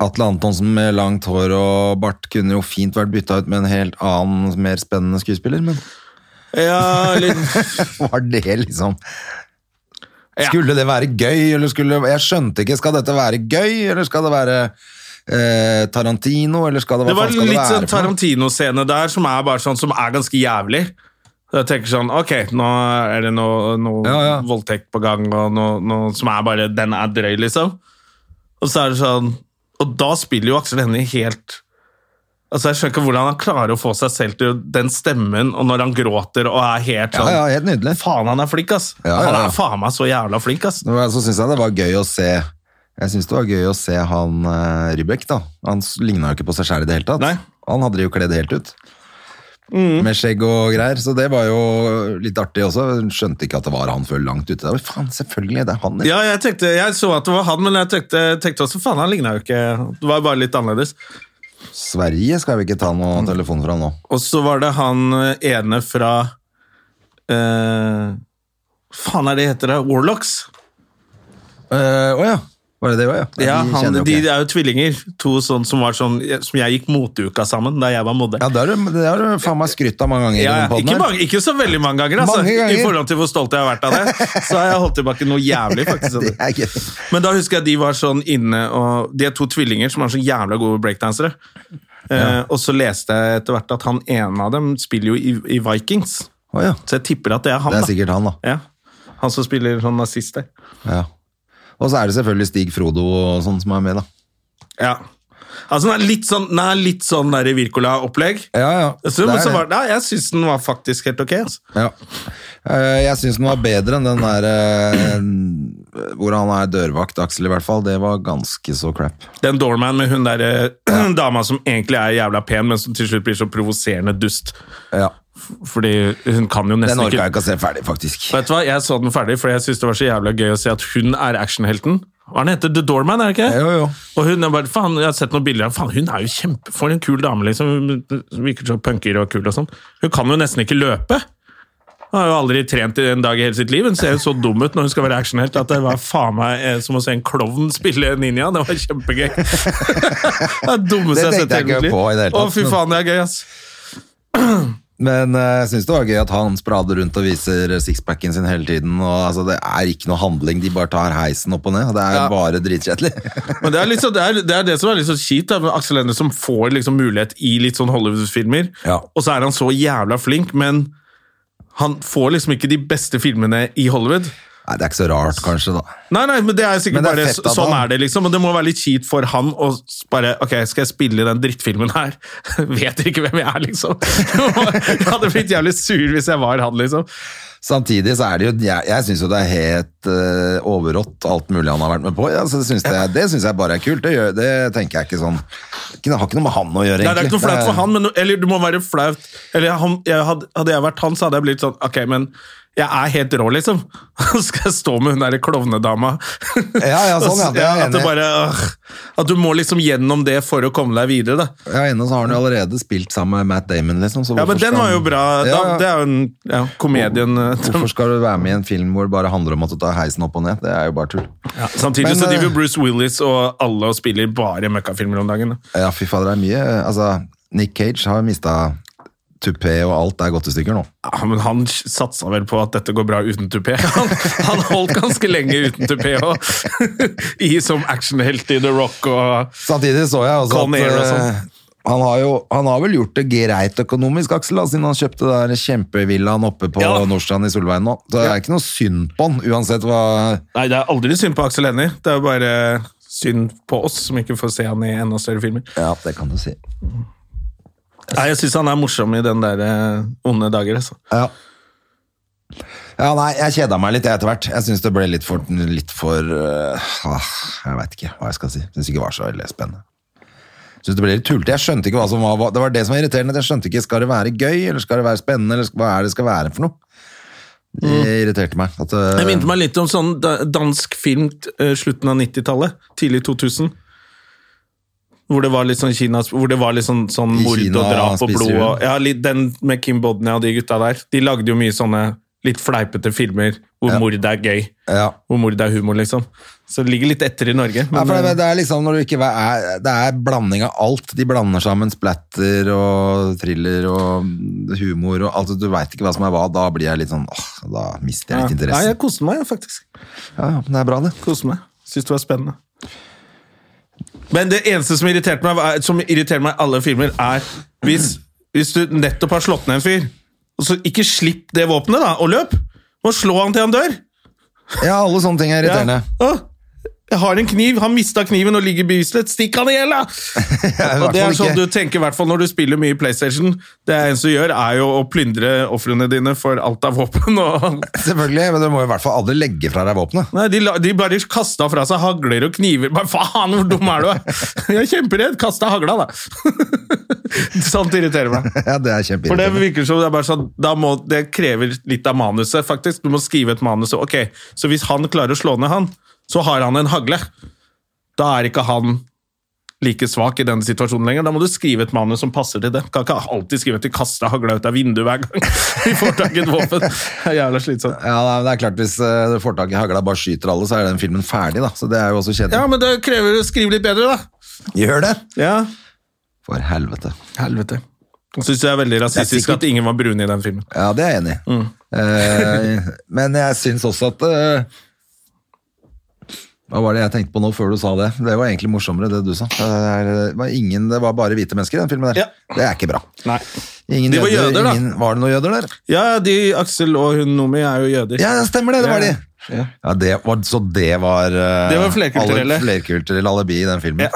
Atle Antonsen med langt hår og bart kunne jo fint vært bytta ut med en helt annen, mer spennende skuespiller, men
Eh, ja, litt,
var det liksom
Ja.
Skulle det være gøy, eller skulle Jeg skjønte ikke. Skal dette være gøy, eller skal det være eh, Tarantino, eller skal det,
Det
hva
var
faen skal
litt sånn
det være? for noe?
Tarantino-scene der som er bare sånn, som er ganske jævlig. Så Jeg tenker sånn, ok, nå er det noe, noe
Ja, ja.
voldtekt på gang, og noe, noe som er bare, den er drøy, liksom. Og så er det sånn, og da spiller jo Aksel Hennie helt... Altså, jeg skjønner ikke hvordan han klarer å få seg selv til den stemmen, og når han gråter, og er helt sånn...
ja, ja, helt nydelig.
Faen, han er flink, ass.
Ja, ja, ja.
Han er faen meg så jævla flink, ass.
Nå, Så syns jeg det var gøy å se Jeg synes det var gøy å se han eh, Rybek, da. Han s- ligna jo ikke på seg sjæl i det hele tatt.
Nei. Mm.
Han hadde det jo kledd helt ut. Med skjegg og greier, så det var jo litt artig også. Skjønte ikke at det var han før langt ute. Det var, faen, selvfølgelig, det er han.
Ja, jeg, tenkte, jeg så at det var han, men jeg tenkte, tenkte også, faen, han lignet jo ikke. Det var bare litt annerledes.
Sverige skal vi ikke ta
Mm.
noen telefon fra nå.
Og så var det han eh, ene fra eh, Faen er det heter det? Warlocks?
Å ja. Var det det òg, ja? Nei,
Eh, Ja,
de
han,
kjenner jo
de
ikke.
er jo tvillinger. To sånn som var sånn Som jeg gikk moteuka sammen da jeg var modell.
Ja, det har du- det har du faen meg skrytt av mange ganger. i
Ja,
den
ja.
podden
Ikke,
her.
mange, ikke så veldig mange ganger, altså.
Mange ganger.
I forhold til hvor stolt jeg har vært av det. Så har jeg holdt tilbake noe jævlig, faktisk. av
Det
det.
er gøy.
Men da husker jeg de var sånn inne og De er to tvillinger som er så jævla gode breakdansere. Eh, og så leste jeg etter hvert at han ene av dem spiller jo i, i Vikings.
Å ja.
Så jeg tipper at det er han.
Det er
da.
sikkert han, da.
Ja. Han som spiller sånn nazist der.
Ja. Og så er det selvfølgelig Stig Frodo og sånn som er med, da.
Ja. Altså, den er litt sånn, den er litt sånn der Wirkola-opplegg.
Ja, ja.
Så, men så var, nei, jeg syns den var faktisk helt ok. Altså.
Ja. Eh, Jeg syns den var bedre enn den der eh, hvor han er dørvakt, Aksel i hvert fall. Det var ganske så crap.
Den doorman med hun der eh, dama som egentlig er jævla pen, men som til slutt blir så provoserende dust. Fordi hun kan jo
Den
nesten
orka
ikke
jeg ikke å se ferdig, faktisk.
Vet du hva, Jeg så den ferdig, for jeg syns det var så jævla gøy å se at hun er actionhelten. Hva er den heter? The Doorman, er det ikke? det?
Jo, jo.
Og hun er bare, faen, Jeg har sett noen bilder av faen, hun er jo kjempe, For en kul dame, liksom. Hun virker så punker og kul og sånn. Hun kan jo nesten ikke løpe. Hun har jo aldri trent i en dag i hele sitt liv. Hun ser jo så dum ut når hun skal være actionhelt at det var faen meg eh, som å se en klovn spille ninja. Det var kjempegøy. det er det dummeste jeg har
Det tenkte
sett i
jeg
hele
ikke
mitt liv.
på i det hele
Å,
tatt,
fy
men-
faen, det er gøy, ass.
Men eh, jeg syns det var gøy at han sprader rundt og viser sixpacken sin hele tiden. Og, altså, det er ikke noe handling, de bare tar heisen opp og ned. og Det er
Ja.
bare dritkjedelig.
Men det er, litt så, det, er, det er det som er litt så kjipt da, med Aksel Hennie, som får liksom mulighet i litt sånn Hollywood-filmer.
Ja.
Og så er han så jævla flink, men han får liksom ikke de beste filmene i Hollywood.
Nei, det er ikke så rart, kanskje, da.
Nei, nei, men det er
Men
sikkert
det er
bare
fett at
sånn
han-
er det, liksom. Og det må være litt kjipt for han å s- bare Ok, skal jeg spille i den drittfilmen her? Vet dere ikke hvem jeg er, liksom? Jeg hadde blitt jævlig sur hvis jeg var han, liksom.
Samtidig så er det jo Jeg, jeg syns jo det er helt eh, overrått, alt mulig han har vært med på. Ja, så det syns jeg, det syns jeg bare er kult. Det, gjør, det tenker jeg ikke sånn ikke, Det har ikke noe med han å gjøre,
Nei, det er ikke noe
Det
flaut
er-
for han, men, eller du må være flaut. Eller han, jeg hadde, hadde jeg vært han, så hadde jeg blitt sånn Ok, men jeg er helt rå, liksom. Så skal jeg stå med hun derre klovnedama.
Ja, ja, sånn, ja, det er jeg
at,
enig
det
i.
bare, øh, at du må liksom gjennom det for å komme deg videre, da.
Ja, inne så har han jo allerede spilt sammen med Matt Damon, liksom. så
Ja,
hvorfor
men den
skal
var jo
han-
bra. Da,
Ja, ja.
det er jo en ja, komedien eh,
Hvorfor skal du være med i en film hvor det bare handler om at du tar heisen opp og ned? Det er jo bare tull.
ja, Samtidig
Men,
så driver
eh,
jo Bruce Willis og alle og spiller bare møkkafilmer om dagen. da.
Ja, fy fader, det er mye. Altså, Nick Cage har mista tupé og alt er gått i stykker nå.
Ja, men han satsa vel på at dette går bra uten tupé. Han, han holdt ganske lenge uten tupé òg. I som actionhelt i The Rock og
Samtidig så jeg også at
Con Air og
eh,
sånn.
han har, jo, han har vel gjort det greit økonomisk, Aksel, da, siden han kjøpte det der kjempevillaen oppe på
Ja.
Nordstrand i Solveien nå. Så det er ikke noe synd på han, uansett hva
Nei, det er aldri synd på Aksel Hennie. Det er jo bare synd på oss som ikke får se han i enda større filmer.
Ja, det kan du si.
Nei, Jeg syns han er morsom i den der eh, Onde dager. Altså.
Ja. Ja, nei, jeg kjeda meg litt jeg, etter hvert. Jeg syns det ble litt for, litt for øh, ah, Jeg veit ikke hva jeg skal si. Syns ikke det var så veldig spennende. Synes det ble litt tullete. Jeg skjønte ikke hva som var hva- Det var det som var irriterende. at Jeg skjønte ikke, Skal det være gøy, eller skal det være spennende, eller sk- hva er det det skal være for noe? Det irriterte meg. At, øh,
Det minte meg litt om sånn da- dansk film eh, slutten av 90-tallet, tidlig 2000. Hvor det var litt sånn Kina, hvor det var litt sånn, sånn
I
mord
Kina
og drap og
spiser
blod.
hun.
Og, ja, litt Den med Kim Bodnia og de gutta der. De lagde jo mye sånne litt fleipete filmer hvor mord er gøy.
ja.
Hvor mord er humor, liksom. Så det ligger litt etter i Norge.
Nei,
Men, eh,
for det, det er liksom når du ikke er, Det er blanding av alt. De blander sammen splatter og thriller og humor og alt. Du veit ikke hva som er hva. Da blir jeg litt sånn åh, Da mister jeg litt
ja,
interessen.
jeg koste meg, faktisk.
Ja, ja, men det er bra, det.
Kose meg. Syns det var spennende. Men det eneste som irriterte meg, var- som irriterer meg i alle filmer, er hvis, hvis du nettopp har slått ned en fyr, og så ikke slipp det våpenet, da, og løp! Må slå han til han dør!
Ja, alle sånne ting er irriterende.
Ja. Å, Jeg har en kniv, han mista kniven og ligger beviselig. Stikk han i hjel, da!
i
Og
hvert
det
fall
er sånn du
ikke-
tenker i hvert fall når du spiller mye i PlayStation. Det eneste du gjør, er jo å plyndre ofrene dine for alt av våpen og
Selvfølgelig, men du må i hvert fall aldri legge fra deg våpenet.
Nei, de, la- de bare kasta fra seg hagler og kniver. Bare faen, hvor dum er du? Jeg er kjemperedd! Kasta hagla, da! Sånt irriterer meg.
Ja, det er
For det
kjempeirriterende.
virker som det er bare sånn da må, Det krever litt av manuset, faktisk. Du må skrive et manus. og Ok, Så hvis han klarer å slå ned han, så har han en hagle. Da er ikke han like svak i denne situasjonen lenger. Da må du skrive et manus som passer til det. Kan ikke alltid skrive at de kaster hagla ut av vinduet hver gang de får tak i et våpen. Det er jævla slitsomt.
Ja, nei, men det er klart Hvis eh, du får tak i hagla og bare skyter alle, så er den filmen ferdig. da Så det er jo også kjedelig.
Ja, men det krever å skrive litt bedre, da.
Gjør det!
Ja,
For helvete.
Helvete. Jeg syns det er veldig rasistisk
Det er sikkert-
at ingen var brune i den filmen.
Ja, det er jeg enig i.
Mm.
Eh, men jeg syns også at eh, Hva var det jeg tenkte på nå før du sa det? Det var egentlig morsommere, det du sa. Det, er, det, var ingen, det var bare hvite mennesker i den filmen der.
Ja.
Det er ikke bra.
Nei.
Ingen
De var jøder, da.
ingen, Var det noen jøder der?
Ja, de, Aksel og hun Nomi er jo jøder.
Ja, det stemmer det, det var de.
Ja.
Ja, det var, så det var, eh,
Det var flerkulturelle.
alle- flerkulturelle alibi i den filmen.
Ja.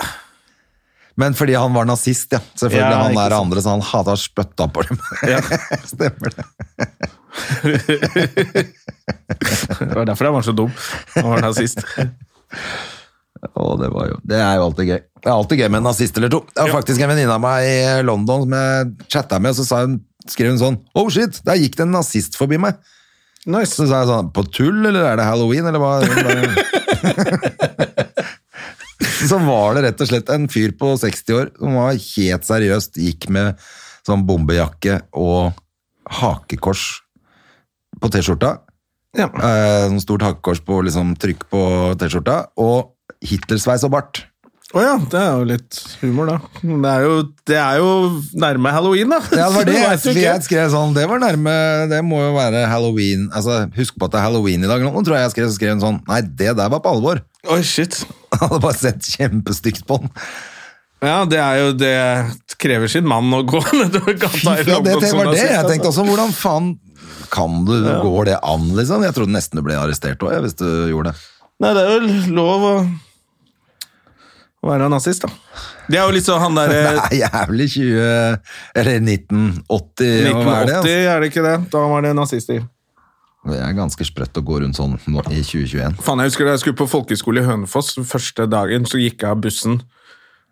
Men fordi han var nazist, ja. Selvfølgelig,
Ja,
han
ikke
er
sant.
andre, så han hata spytta på dem.
Ja.
stemmer det.
Det var derfor jeg var så dum. Han var nazist.
Å, det, var jo, det er jo alltid gøy. Det er alltid gøy med en nazist eller to. Det var faktisk en venninne av meg i London som jeg chatta med, og så sa hun, skrev hun sånn Oh shit, der gikk det en nazist forbi meg.
Nice.
Så sa jeg sånn På tull, eller er det halloween, eller hva? så var det rett og slett en fyr på 60 år som var helt seriøst gikk med sånn bombejakke og hakekors på T-skjorta.
Ja.
Eh, sånn stort hakekors på liksom, trykk på T-skjorta, og Hitlersveis og bart.
Å ja, det er jo litt humor, da. Men Det er jo, det er jo nærme halloween, da.
Ja, det var det
Du
jeg,
vet jo
for
ikke.
jeg skrev sånn, det var nærme, det må jo være halloween, altså husk på at det er halloween i dag, nå tror jeg jeg skrev, så skrev hun sånn, nei, det der var på alvor.
Oi, shit.
Han hadde bare sett kjempestygt på den.
Ja, det er jo Det krever sin mann å gå nedover gata i
Ja, det,
London
det
som
var det
nazist,
jeg
altså.
tenkte også. Hvordan faen kan du Går det an, liksom? Jeg trodde nesten du ble arrestert òg, hvis du gjorde det.
altså. Nei, det er jo lov å å være nazist, da. Det er jo litt sånn han
Det
derre
er jævlig 20... Eller 1980, og hva er det?
1980,
Altså?
er det ikke det? Da var det nazister.
Det er ganske sprøtt å gå rundt sånn nå, i 2021.
Faen, jeg husker da jeg skulle på folkeskole i Hønefoss, første dagen så gikk jeg av bussen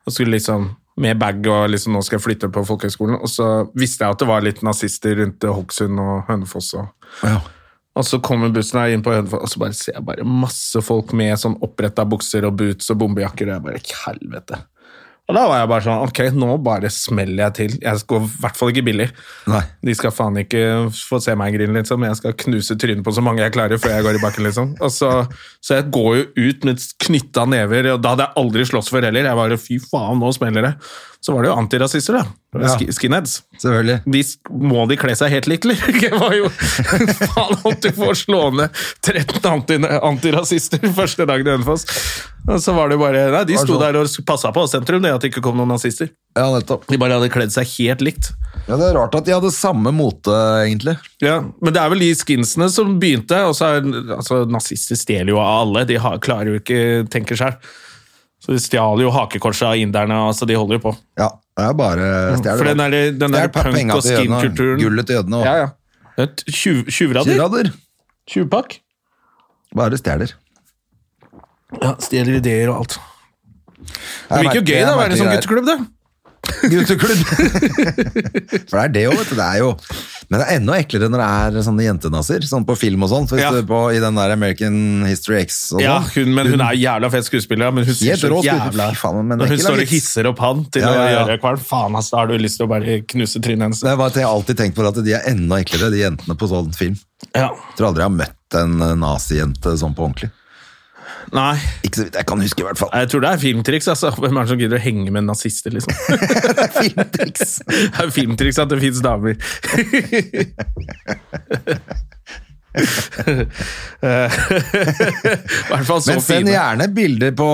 og skulle liksom med bag og liksom nå skal jeg flytte på folkehøgskolen. Og så visste jeg at det var litt nazister rundt Hokksund og Hønefoss og, Og så kommer bussen her inn på Hønefoss, og så bare ser jeg bare masse folk med sånn oppretta bukser og boots og bombejakker, og jeg bare "Ikke helvete. Og da var jeg bare sånn Ok, nå bare smeller jeg til. Jeg går i hvert fall ikke billig.
Nei.
De skal faen ikke få se meg grine, liksom. Jeg skal knuse trynet på så mange jeg klarer før jeg går i bakken, liksom. Og så, så jeg går jo ut med knytta never, og da hadde jeg aldri slåss før heller. Jeg bare fy faen, nå smeller det. Så var det jo antirasister, da.
Ja.
Sk- Skinheads.
Selvfølgelig.
De sk- må de kle seg helt likt, eller? Jeg var jo faen om du får slå ned 13 anti antirasister første dagen i Hønefoss. Og så var det sånn? bare Nei, de sto der og passa på sentrum, det at det ikke kom noen nazister.
Ja, nettopp.
De bare hadde kledd seg helt likt.
Ja, det er rart at de hadde samme mote, egentlig.
Ja, Men det er vel de skinsene som begynte. og så er, altså Nazister stjeler jo av alle. De har, klarer jo ikke tenke sjøl. Så de stjal jo hakekorset av inderne. altså De holder jo på.
Ja, det er bare stjel.
For den der, den der
Stjel pe-
punk-
penga
og
til jødene,
skinkulturen
Gullet til jødene og
Ja, ja. Det er tju- Tjuvrader?
Tjuvrader.
Tjuvpakk?
Bare stjeler.
Ja, stjeler ideer og alt. Det
Jeg
virker jo
merker-
gøy da,
jeg
å være
merker
en sånn
det her.
gutteklubb, det.
Gutteklubb. For det er det jo, vet du. Det er jo. Men det er enda eklere når det er sånne jentenazister, sånn på film og sånn. Så hvis
Ja.
du er på, I den der American History X og
Ja,
sånn.
hun, men hun er jævla fet skuespiller. ja, Men hun
Helt
synes jo
rå skuespiller.
jævla
Fy faen, men det er
Når hun
ikke lang
står og
vits.
hisser opp han til
Ja, ja, ja.
å gjøre kvalm, faen ass, da har du lyst til å bare knuse trynet hennes.
Det er bare at Jeg har alltid tenkt på det at de er enda eklere, de jentene på sånn film.
Ja.
Jeg tror aldri jeg har møtt en eh, nazijente sånn på ordentlig.
Nei,
Ikke så vidt jeg kan huske, i hvert fall.
jeg tror det er filmtriks. altså. Hvem er det som gidder å henge med nazister, liksom?
Filmtriks.
Det er filmtriks at det fins damer. Eh, I hvert fall så
Men send
fine.
gjerne bilder på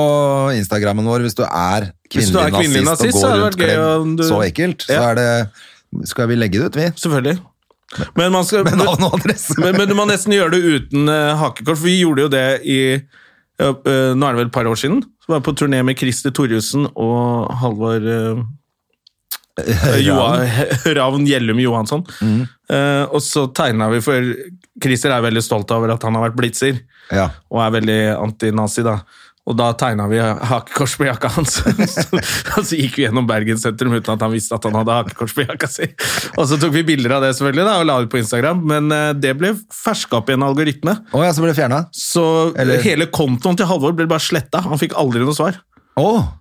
Instagrammen vår hvis du er
Hvis du
kvinnelig,
er kvinnelig
nazist,
nazist, så
og går
hadde
rundt
det vært gøy
kledd
om du-
så ekkelt. Så
Ja.
er det Skal vi legge det ut, vi?
Selvfølgelig. Men man skal...
Med navn og adresse.
men, men du må nesten gjøre det uten eh, hakekors, for vi gjorde jo det i ja, eh, Nå er det vel et par år siden. Så var jeg på turné med Christer Torjussen og Halvor eh, Joa- Ravn Gjellum Johansson. Eh, og så tegna vi for Christer er veldig stolt over at han har vært blitzer,
Ja.
og er veldig antinazi, da. Og da tegna vi hakekors på jakka hans. så, og så gikk vi gjennom Bergen sentrum uten at han visste at han hadde hakekors på jakka si. Og så tok vi bilder av det selvfølgelig da, og la ut på Instagram, men eh, det ble ferska opp i en algoritme.
Å ja, så ble det fjerna?
Så
Eller-
hele kontoen til Halvor ble bare sletta. Han fikk aldri noe svar.
Å!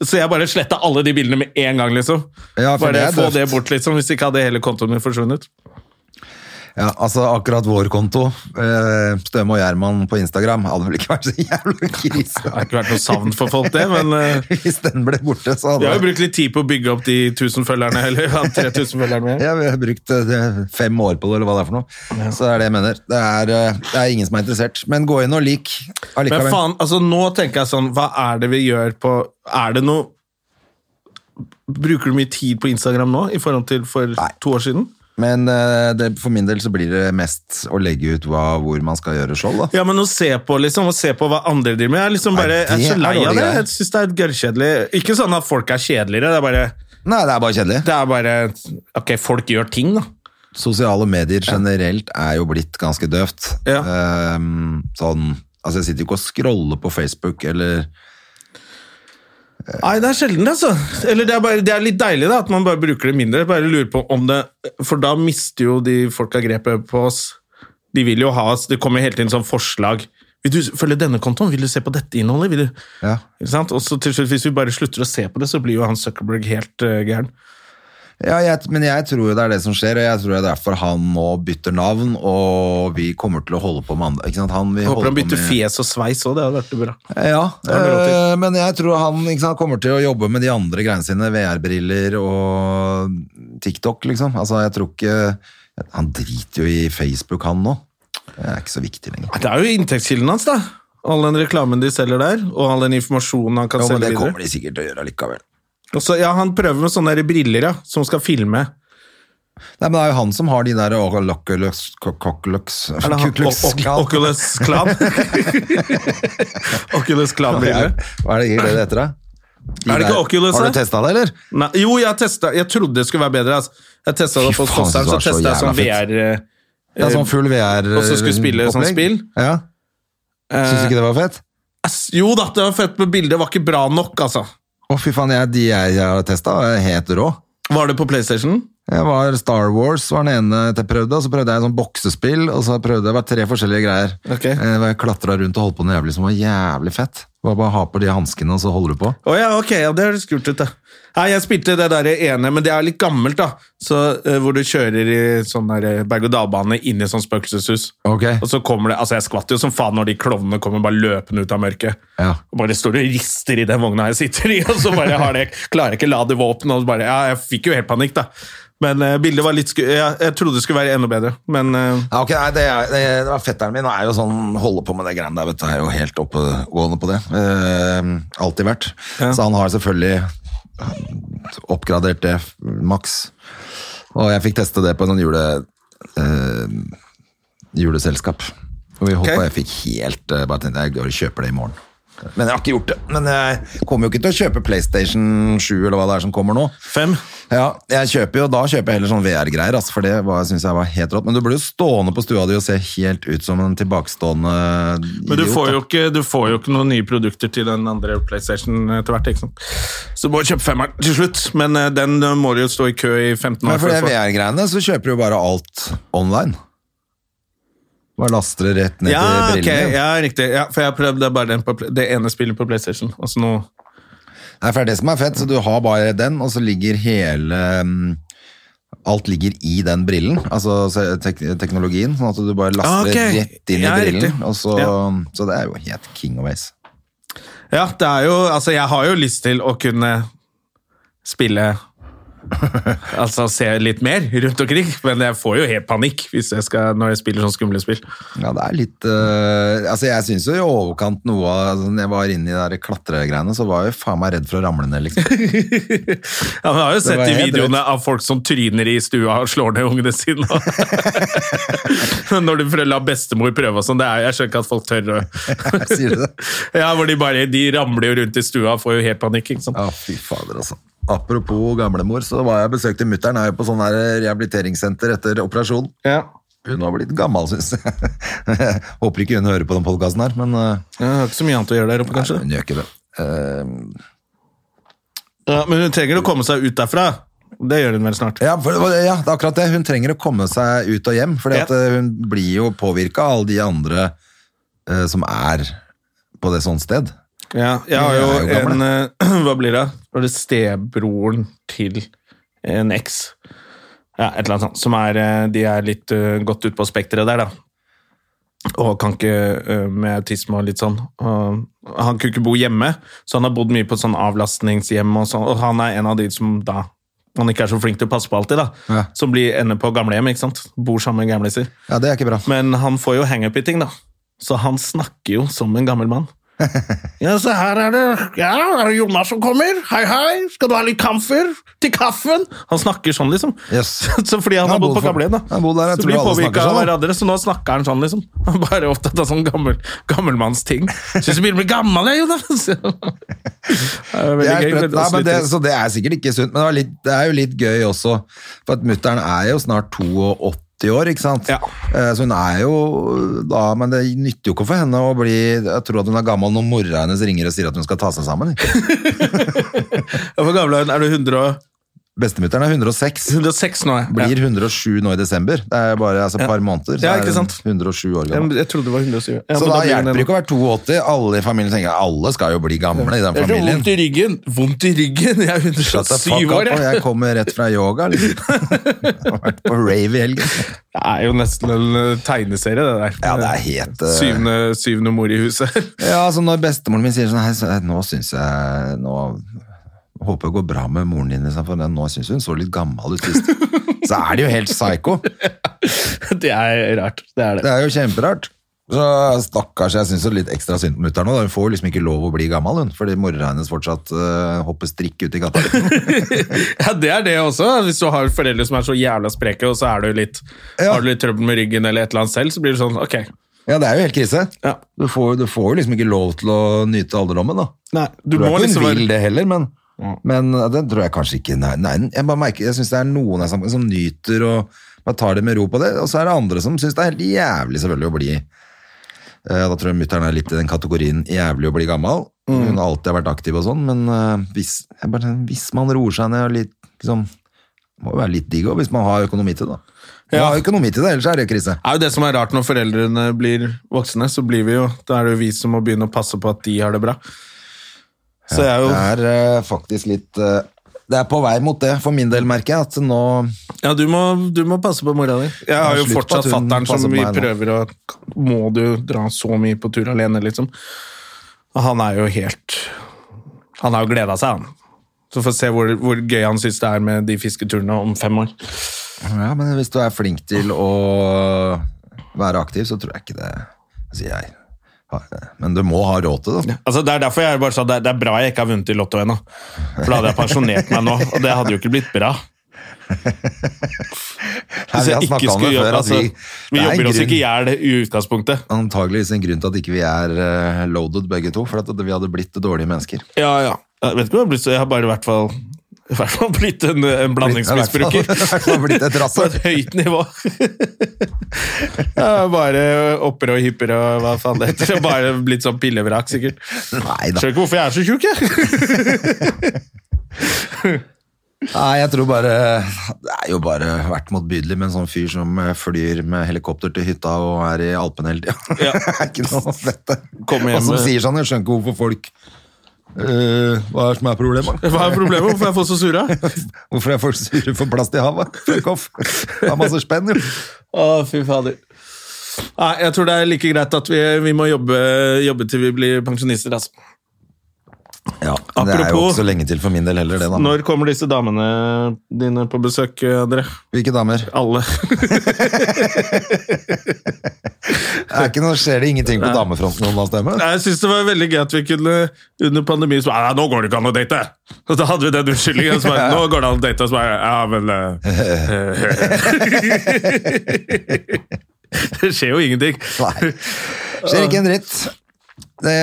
Så jeg bare sletta alle de bildene med en gang, liksom.
Ja, for
bare
det er
få
døvt.
det bort, liksom, hvis ikke hadde hele kontoen min forsvunnet.
Ja, altså akkurat vår konto, eh, Støme og Gjerman på Instagram, hadde vel ikke vært så jævla
Det har
krise.
ikke vært noe savn for folk, det, men eh,
Hvis den ble borte, så hadde
vi har jo brukt litt tid på å bygge opp de 1000 følgerne, eller ja, 3000 følgerne vi har.
Ja, vi har brukt eh, fem år på det, eller hva det er for noe. Så det er det jeg mener. Det er, eh, det er ingen som er interessert. Men gå inn og lik
Men
allikevel.
faen, altså nå tenker jeg sånn, hva er det vi gjør på Er det noe Bruker du mye tid på Instagram nå i forhold til for to år siden?
Men eh, det, for min del så blir det mest å legge ut hva, hvor man skal gjøre show, da.
Ja, men å se på liksom, å se på hva andre driver med Jeg er liksom bare,
Nei, det
jeg er så
er
lei av
dårlig
det.
greie.
Jeg syns det er gørrkjedelig. Ikke sånn at folk er kjedeligere, det er bare,
Nei, det er bare kjedelig.
det er bare Ok, folk gjør ting, da.
Sosiale medier generelt er jo blitt ganske døvt.
Ja.
Ehm, sånn, altså jeg sitter jo ikke og scroller på Facebook, eller
Nei, det er sjelden, altså. Eller det er, bare, det er litt deilig da, at man bare bruker det mindre. Bare lurer på om det For da mister jo de folka grepet på oss. De vil jo ha oss. Det kommer hele tiden sånn forslag. Vil du følge denne kontoen? Vil du se på dette innholdet? Vil du,
ja.
ikke sant? Og så til slutt, hvis vi bare slutter å se på det, så blir jo han Zuckerberg helt eh, gæren.
Ja, jeg, men jeg tror jo det er det som skjer, og jeg tror det er derfor han nå bytter navn, og vi kommer til å holde på med andre. Ikke sant? Han, vi
Håper han bytter
med,
fjes og sveis òg, det hadde vært bra.
Ja,
har han råd til.
eh, men jeg tror han ikke sant, kommer til å jobbe med de andre greiene sine, VR-briller og TikTok, liksom. Altså, jeg tror ikke Han driter jo i Facebook, han nå. Det er ikke så viktig lenger.
Det er jo inntektskilden hans, da. All den reklamen de selger der, og all den informasjonen han kan
Jo, men
selge
det
videre.
kommer de sikkert til å gjøre likevel.
Og så, ja, han prøver med sånne der briller, ja, som skal filme.
Nei, men det er jo han som har de der Oculus, Oculus,
Er det han? O- O- Oculus Clan? Oculus Clan-briller.
Hva er det egentlig det heter da? De
Er det ikke
der-
Oculus,
Har
da?
du testet det, eller?
Nei, Jo, jeg testet, jeg trodde det skulle være bedre. Altså. Jeg testa det
Fy
opp hos
faen,
Fosseren,
det
så
var så
testa jeg sånn
jævla
VR eh,
Det er sånn full VR-opplegg.
Og så skulle spille sånn spill?
Ja. Synes du ikke det var fett?
eh, ass, Jo da, det var fett, men bildet var ikke bra nok, altså.
Å fy faen, jeg, de jeg, jeg har testet er helt rå.
Var det på PlayStation?
Jeg var Star Wars var den ene jeg prøvde, og så prøvde jeg en sånn boksespill, og så prøvde jeg det var tre forskjellige greier.
Ok.
Eh, hvor Jeg klatra rundt og holdt på noe jævlig som var jævlig fett. Bare, bare ha på de hanskene, og så holder du på.
Å ja, ok, ja, det høres kult ut, da. Nei, jeg spilte det der ene, men det er litt gammelt, da. Så, eh, hvor du kjører i sånn der eh, berg-og-dal-bane inn i sånn spøkelseshus.
Ok.
Og så kommer det, altså Jeg skvatt jo som faen når de klovnene kommer bare løpende ut av mørket.
Ja.
Og bare står og rister i den vogna jeg sitter i, og så bare har det, klarer jeg ikke lade våpen. Og så bare, ja, Jeg fikk jo helt panikk, da. Men eh, bildet var litt sku... Ja, jeg trodde det skulle være enda bedre, men eh,
Ja, ok, nei, det, er, det, det var Fetteren min er jo sånn, holder på med det greiene der, vet du. Er jo helt oppegående på det. Eh, alltid vært. Så han har selvfølgelig oppgradert det maks. Og jeg fikk teste det på en sånn jule, eh, juleselskap. Og vi holdt
Ok.
på, jeg fikk helt eh, bare tenkte, jeg går og kjøper det i morgen. Men jeg har ikke gjort det. Men jeg kommer jo ikke til å kjøpe PlayStation 7 eller hva det er som kommer nå.
fem.
Ja, jeg kjøper jo, da kjøper jeg heller sånn VR-greier, altså, for det var- synes jeg var helt rått. Men du blir jo stående på stua di og se helt ut som en tilbakestående
Men du
idiot,
får,
da.
jo ikke, du får jo ikke noen nye produkter til den andre PlayStation etter hvert. ikke sant? Så du må jo kjøpe femmeren til slutt, men eh, den eh, må du jo stå i kø i 15
Men
år.
for
før
det
du får.
VR-greiene, så kjøper du jo bare alt online. Bare laster det rett ned
Ja,
til
ok,
brillene.
ja, riktig. Ja, for jeg har prøvd det, bare den på, Play- det ene spillet på PlayStation. Altså nå,
Nei, for det er det som er fett, så du har bare den, og så ligger hele... mm, Alt ligger i den brillen, altså se- tek teknologien, sånn at du bare laster det
Ah, ok.
rett inn i
Ja,
brillen.
riktig.
Og så,
Ja.
så det er jo helt king of ace.
ja, det er jo Altså, jeg har jo lyst til å kunne spille Altså se litt mer rundt omkring, men jeg får jo helt panikk hvis jeg skal, når jeg spiller sånn skumle spill.
Ja, det er litt eh, Altså, jeg syns jo i overkant noe av altså, Når jeg var inne i de der klatregreiene, så var jeg jo faen meg redd for å ramle ned, liksom.
Ja, men jeg har jo sett
var
de
helt
videoene av folk som tryner i stua og slår ned ungene sine. Men Når du prøver, la bestemor prøve og sånn, det er, jeg skjønner ikke at folk tør å
Sier du det?
Ja, hvor de bare de ramler jo rundt i stua og får jo helt panikk. ikke sant?
Ja, fy fader, altså. Apropos gamlemor, så var jeg besøkte mutter'n her på sånn her rehabiliteringssenter etter operasjon.
Ja.
Hun var blitt gammel, syns jeg. Håper ikke hun hører på den podkasten her, men eh,
Jeg har ikke så mye annet å gjøre der oppe, kanskje.
hun gjør ikke det. Eh,
Ja, men hun trenger å komme seg ut derfra. Det gjør hun vel snart.
Ja, for, det var- ja, det er akkurat det. Hun trenger å komme seg ut og hjem, for
Ja.
hun blir jo påvirka av alle de andre eh, som er på det sånt sted.
Ja, jeg har jo
Jeg er jo
en eh, Hva blir det? Var det stebroren til en eks? Ja, et eller annet sånt. Som er eh, De er litt eh, godt ut på spekteret der, da. Og kan ikke eh, med autisme og litt sånn. Og han kunne ikke bo hjemme, så han har bodd mye på sånn avlastningshjem og sånn. Og han er en av de som da man ikke er så flink til å passe på alltid, da.
Ja.
Som blir ender på gamlehjem, ikke sant. Bor sammen med gamliser.
Ja, det er ikke bra.
Men han får jo hang-up i ting, da. Så han snakker jo som en gammel mann. Ja, se her er det Ja, er det Jonas som kommer. Hei, hei. Skal du ha litt kamfer til kaffen? Han snakker sånn, liksom.
Yes.
Så fordi han
Han
har bodd
bor
på
for-
gamlehjem, da.
han bor der, jeg
så
tror
blir
alle snakker
påvirka av
sånn, da.
hverandre, så nå snakker han sånn, liksom. Han er bare opptatt av sånn gammel, gammelmannsting. Syns du begynner å bli gammel, jeg, Jonas! Det er
Det
veldig
er
gøy,
sprøtt.
men
Nei,
også
men
litt
det,
trist.
så det er sikkert ikke sunt, men det, var litt, det er jo litt gøy også. For at mutter'n er jo snart 82 år, ikke sant?
Ja.
Eh, Så hun er jo da Men det nytter jo ikke for henne å bli Jeg tror at hun er gammel når mora hennes ringer og sier at hun skal ta seg sammen.
Hvor gammel er hun? Er du 100 og...
Bestemutteren er 106.
106 nå? Jeg.
Blir 107 nå i desember. Det er jo bare altså, et par måneder. så
Ja,
er
ikke
hun
sant?
107 år
Ja. Jeg,
gammel.
jeg trodde det var 107. Ja,
Så
men
da
blir hun
hjelper
en-
det ikke å være 82. Alle i familien tenker alle skal jo bli gamle i den
Jeg får
familien.
vondt i ryggen. Vondt i ryggen! Jeg er
Shut the
107
fuck up, og
år, jeg.
jeg kommer rett fra yoga. Liksom. Jeg har vært på rave i helgen.
Det er jo nesten en eh, tegneserie, det der.
Ja, det er helt, eh,
Syvende, syvende mor i huset.
Ja, altså når bestemoren min sier sånn Hei, så, nå syns jeg Nå håper det går bra med moren din, liksom, for den- nå syns hun så litt gammel ut sist. Så er det jo helt psycho.
det er rart. Det er
Det
det.
er jo kjemperart. Så Stakkars, jeg syns litt ekstra synd på mutter'n. Hun får liksom ikke lov å bli gammel, hun, fordi mora hennes fortsatt eh, hopper strikk ute i gata.
Ja, det er det også. Hvis du har foreldre som er så jævla spreke, og så er du litt,
Ja.
har du litt trøbbel med ryggen eller et eller annet selv, så blir det sånn, ok.
Ja, det er jo helt krise.
Ja.
Du, får, du får jo liksom ikke lov til å nyte alderdommen, da.
Nei,
Du
du
tror
må
ikke hun
liksom
vil
være... Mm.
det heller, men, men uh, det tror jeg kanskje ikke. Nei, nei jeg bare merker, jeg syns det er noen jeg sammen med som nyter og bare tar det med ro på det, og så er det andre som syns det er helt jævlig selvfølgelig å bli eh, Da tror jeg mutter'n er litt i den kategorien jævlig å bli gammel.
Mm.
Hun har alltid vært aktiv og sånn, men eh, hvis, jeg bare, hvis man roer seg ned og litt liksom Det må jo være litt digg også, hvis man har økonomi til det. da. Man
Ja.
har økonomi til det, ellers er det jo krise.
Det er jo det som er rart når foreldrene blir voksne, så blir vi jo, da er det jo vi som må begynne å passe på at de har det bra. Så jeg er jo,
Det er eh, faktisk litt eh, Det er på vei mot det, for min del, merker jeg. At nå
ja, du må, du må passe på mora di. Jeg har jo
slutt på at
fortsatt
hun
fatteren
passer
som
på
vi
meg nå.
prøver å Må du dra så mye på tur alene, liksom? Og han er jo helt Han har jo gleda seg, han. Så får vi se hvor, hvor gøy han syns det er med de fisketurene om fem år.
Ja, men hvis du er flink til å være aktiv, så tror jeg ikke det Sier jeg. Ha- Men du må ha råd til det. da.
Altså, det er derfor jeg bare sa det, det er bra jeg ikke har vunnet i Lotto ennå. For da hadde jeg pensjonert meg nå, og det hadde jo ikke blitt bra.
Nei,
Hvis
vi
jeg
har
ikke
snakka om det
skulle
før.
jobbe,
At vi,
altså, vi
det er en
jobber oss
grunn-
ikke i hjel i utgangspunktet.
Antageligvis en grunn til at ikke vi er eh, loaded begge to, for at vi hadde blitt dårlige mennesker.
Ja, ja. Jeg vet ikke om jeg har blitt så, jeg har bare i hvert fall i hvert fall blitt en, en
I
blandingsmisbruker.
hvert fall- i hvert fall blitt et rasshøl.
På et høyt nivå. Ja, bare oppere og hyppere og hva faen det heter. og Bare blitt sånn pillevrak, sikkert.
Nei da.
Skjønner ikke hvorfor jeg er så tjukk, jeg.
Nei, jeg tror bare Det er jo bare vært motbydelig med en sånn fyr som eh, flyr med helikopter til hytta og er i Alpene hele tida.
Ja.
Det er ikke noe fett, det.
Kom hjem
Og som
med-
sier sånn, jeg skjønner ikke hvorfor folk eh, Hva er det som er problemet?
Hva er problemet? Hvorfor er jeg får så sura?
Hvorfor er folk sure for plast i havet? Fuck off! Det er masse spenn, jo.
Å, fy fader. Nei, jeg tror det er like greit at vi, vi må jobbe, jobbe til vi blir pensjonister, altså.
Ja, men Det er jo
Apropos-
ikke så lenge til for min del heller, det, da.
Når kommer disse damene dine på besøk, André?
Hvilke damer?
Alle.
Det er ikke noe, skjer det ingenting på damefronten om da, stemme?
Nei, Jeg syns det var veldig gøy at vi kunne under pandemien så, bare, «Nei, nå går det ikke an å date! Og da hadde vi den unnskyldningen. Så bare, nå går det an å date, og så bare Ja, men eh, Det skjer jo ingenting.
Nei. Skjer ikke en dritt. Det,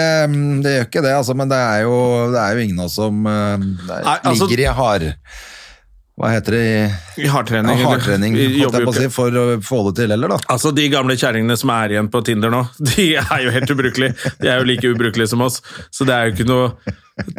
det gjør ikke det, altså, men det er jo, det er jo ingen av oss som eh, det er,
Nei, altså-
ligger i hard... Hva heter det?
I hardtrening.
I
eller-
hardtrening,
vi
holdt
jobber
jeg
jo
på å si,
ikke.
for å få det til heller, da.
Altså, De gamle kjerringene som er igjen på Tinder nå, de er jo helt ubrukelige. De er jo like ubrukelige som oss. Så det er jo ikke noe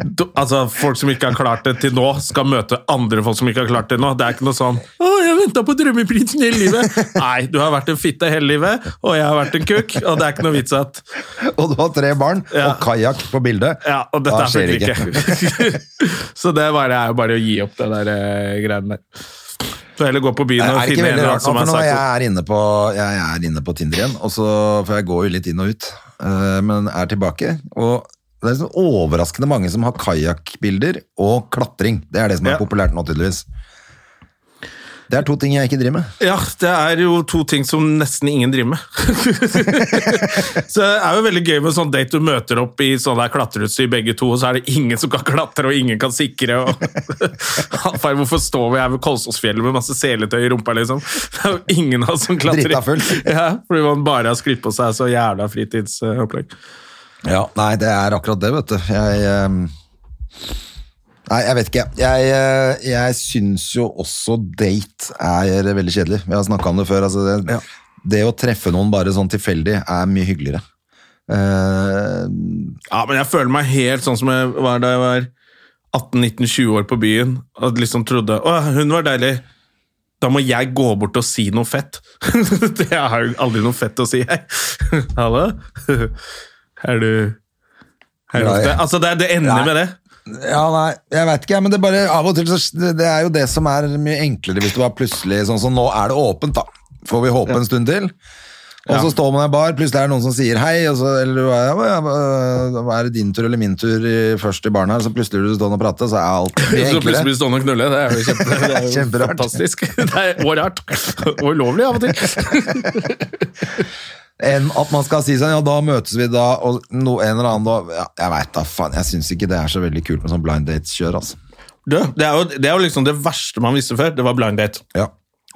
do- Altså, Folk som ikke har klart det til nå, skal møte andre folk som ikke har klart det nå. Det er ikke noe sånn 'Å, jeg venta på drømmeprinsen hele livet'. Nei, du har vært en fitte hele livet, og jeg har vært en kuk, og det er ikke noe vits at
Og du har tre barn
Ja.
og kajakk på bildet.
Ja, og
Da
dette er
skjer det
selvfølgelig ikke. Så det er bare, er jo bare å gi opp det der eh, greiene der. Så heller gå på byen
Det er
og
ikke
finne en
veldig
eller annen
rart nå,
som
for
har
nå
sagt
jeg er inne på, jeg er inne på Tinder igjen, og så, for jeg går jo litt inn og ut, eh, men er tilbake. Og det er sånn overraskende mange som har kajakkbilder og klatring. Det er det som er
Ja.
populært nå, tydeligvis. Det er to ting jeg ikke driver med.
Ja, det er jo to ting som nesten ingen driver med. så det er jo veldig gøy med sånn date du møter opp i sånn der klatreutstyr begge to, og så er det ingen som kan klatre, og ingen kan sikre. Og... Far, hvorfor står vi her ved Kolsåsfjellet med masse seletøy i rumpa, liksom? Det er jo ingen av oss som klatrer.
Drita full.
Ja, fordi man bare har sklitt på seg så jævla fritidsopplegg.
Ja, nei, det er akkurat det, vet du. Jeg ehm, Nei, jeg vet ikke. Jeg, eh, jeg syns jo også date er veldig kjedelig. Vi har snakka om det før. Altså det, det å treffe noen bare sånn tilfeldig er mye hyggeligere. Eh,
Ja, men jeg føler meg helt sånn som jeg var da jeg var 18-19-20 år på byen. Og liksom trodde Å, hun var deilig. Da må jeg gå bort og si noe fett. Det- jeg har jo aldri noe fett å si, jeg. Hallo? Er du er du
Glad i-
ofte? Altså, det, er- det ender
Nei.
med det.
ja, nei, jeg veit ikke, men det er bare av og til så Det er jo det som er mye enklere hvis du bare plutselig Sånn som nå er det åpent, da. Får vi håpe en stund til. Og så
Ja.
står man i en bar, plutselig er det noen som sier hei, og så eller, du er, «Ja, hva- hva er det din tur eller min tur i, først i baren her, så plutselig blir du stående og prate, så er alt mye
Så plutselig blir
enklere.
du stående og knulle. Det er jo, kjempe, det er jo
Kjemperart.
fantastisk. Det er og rart. Og ulovlig av og til.
Enn at man skal si sånn, ja da møtes vi da, og no, en eller annen da, ja, jeg vet da faen, jeg synes ikke det er så veldig kult med sånn blind dates-kjør, altså.
Du, det, er jo, det er jo liksom det verste man visste før. Det var blind date.
Ja.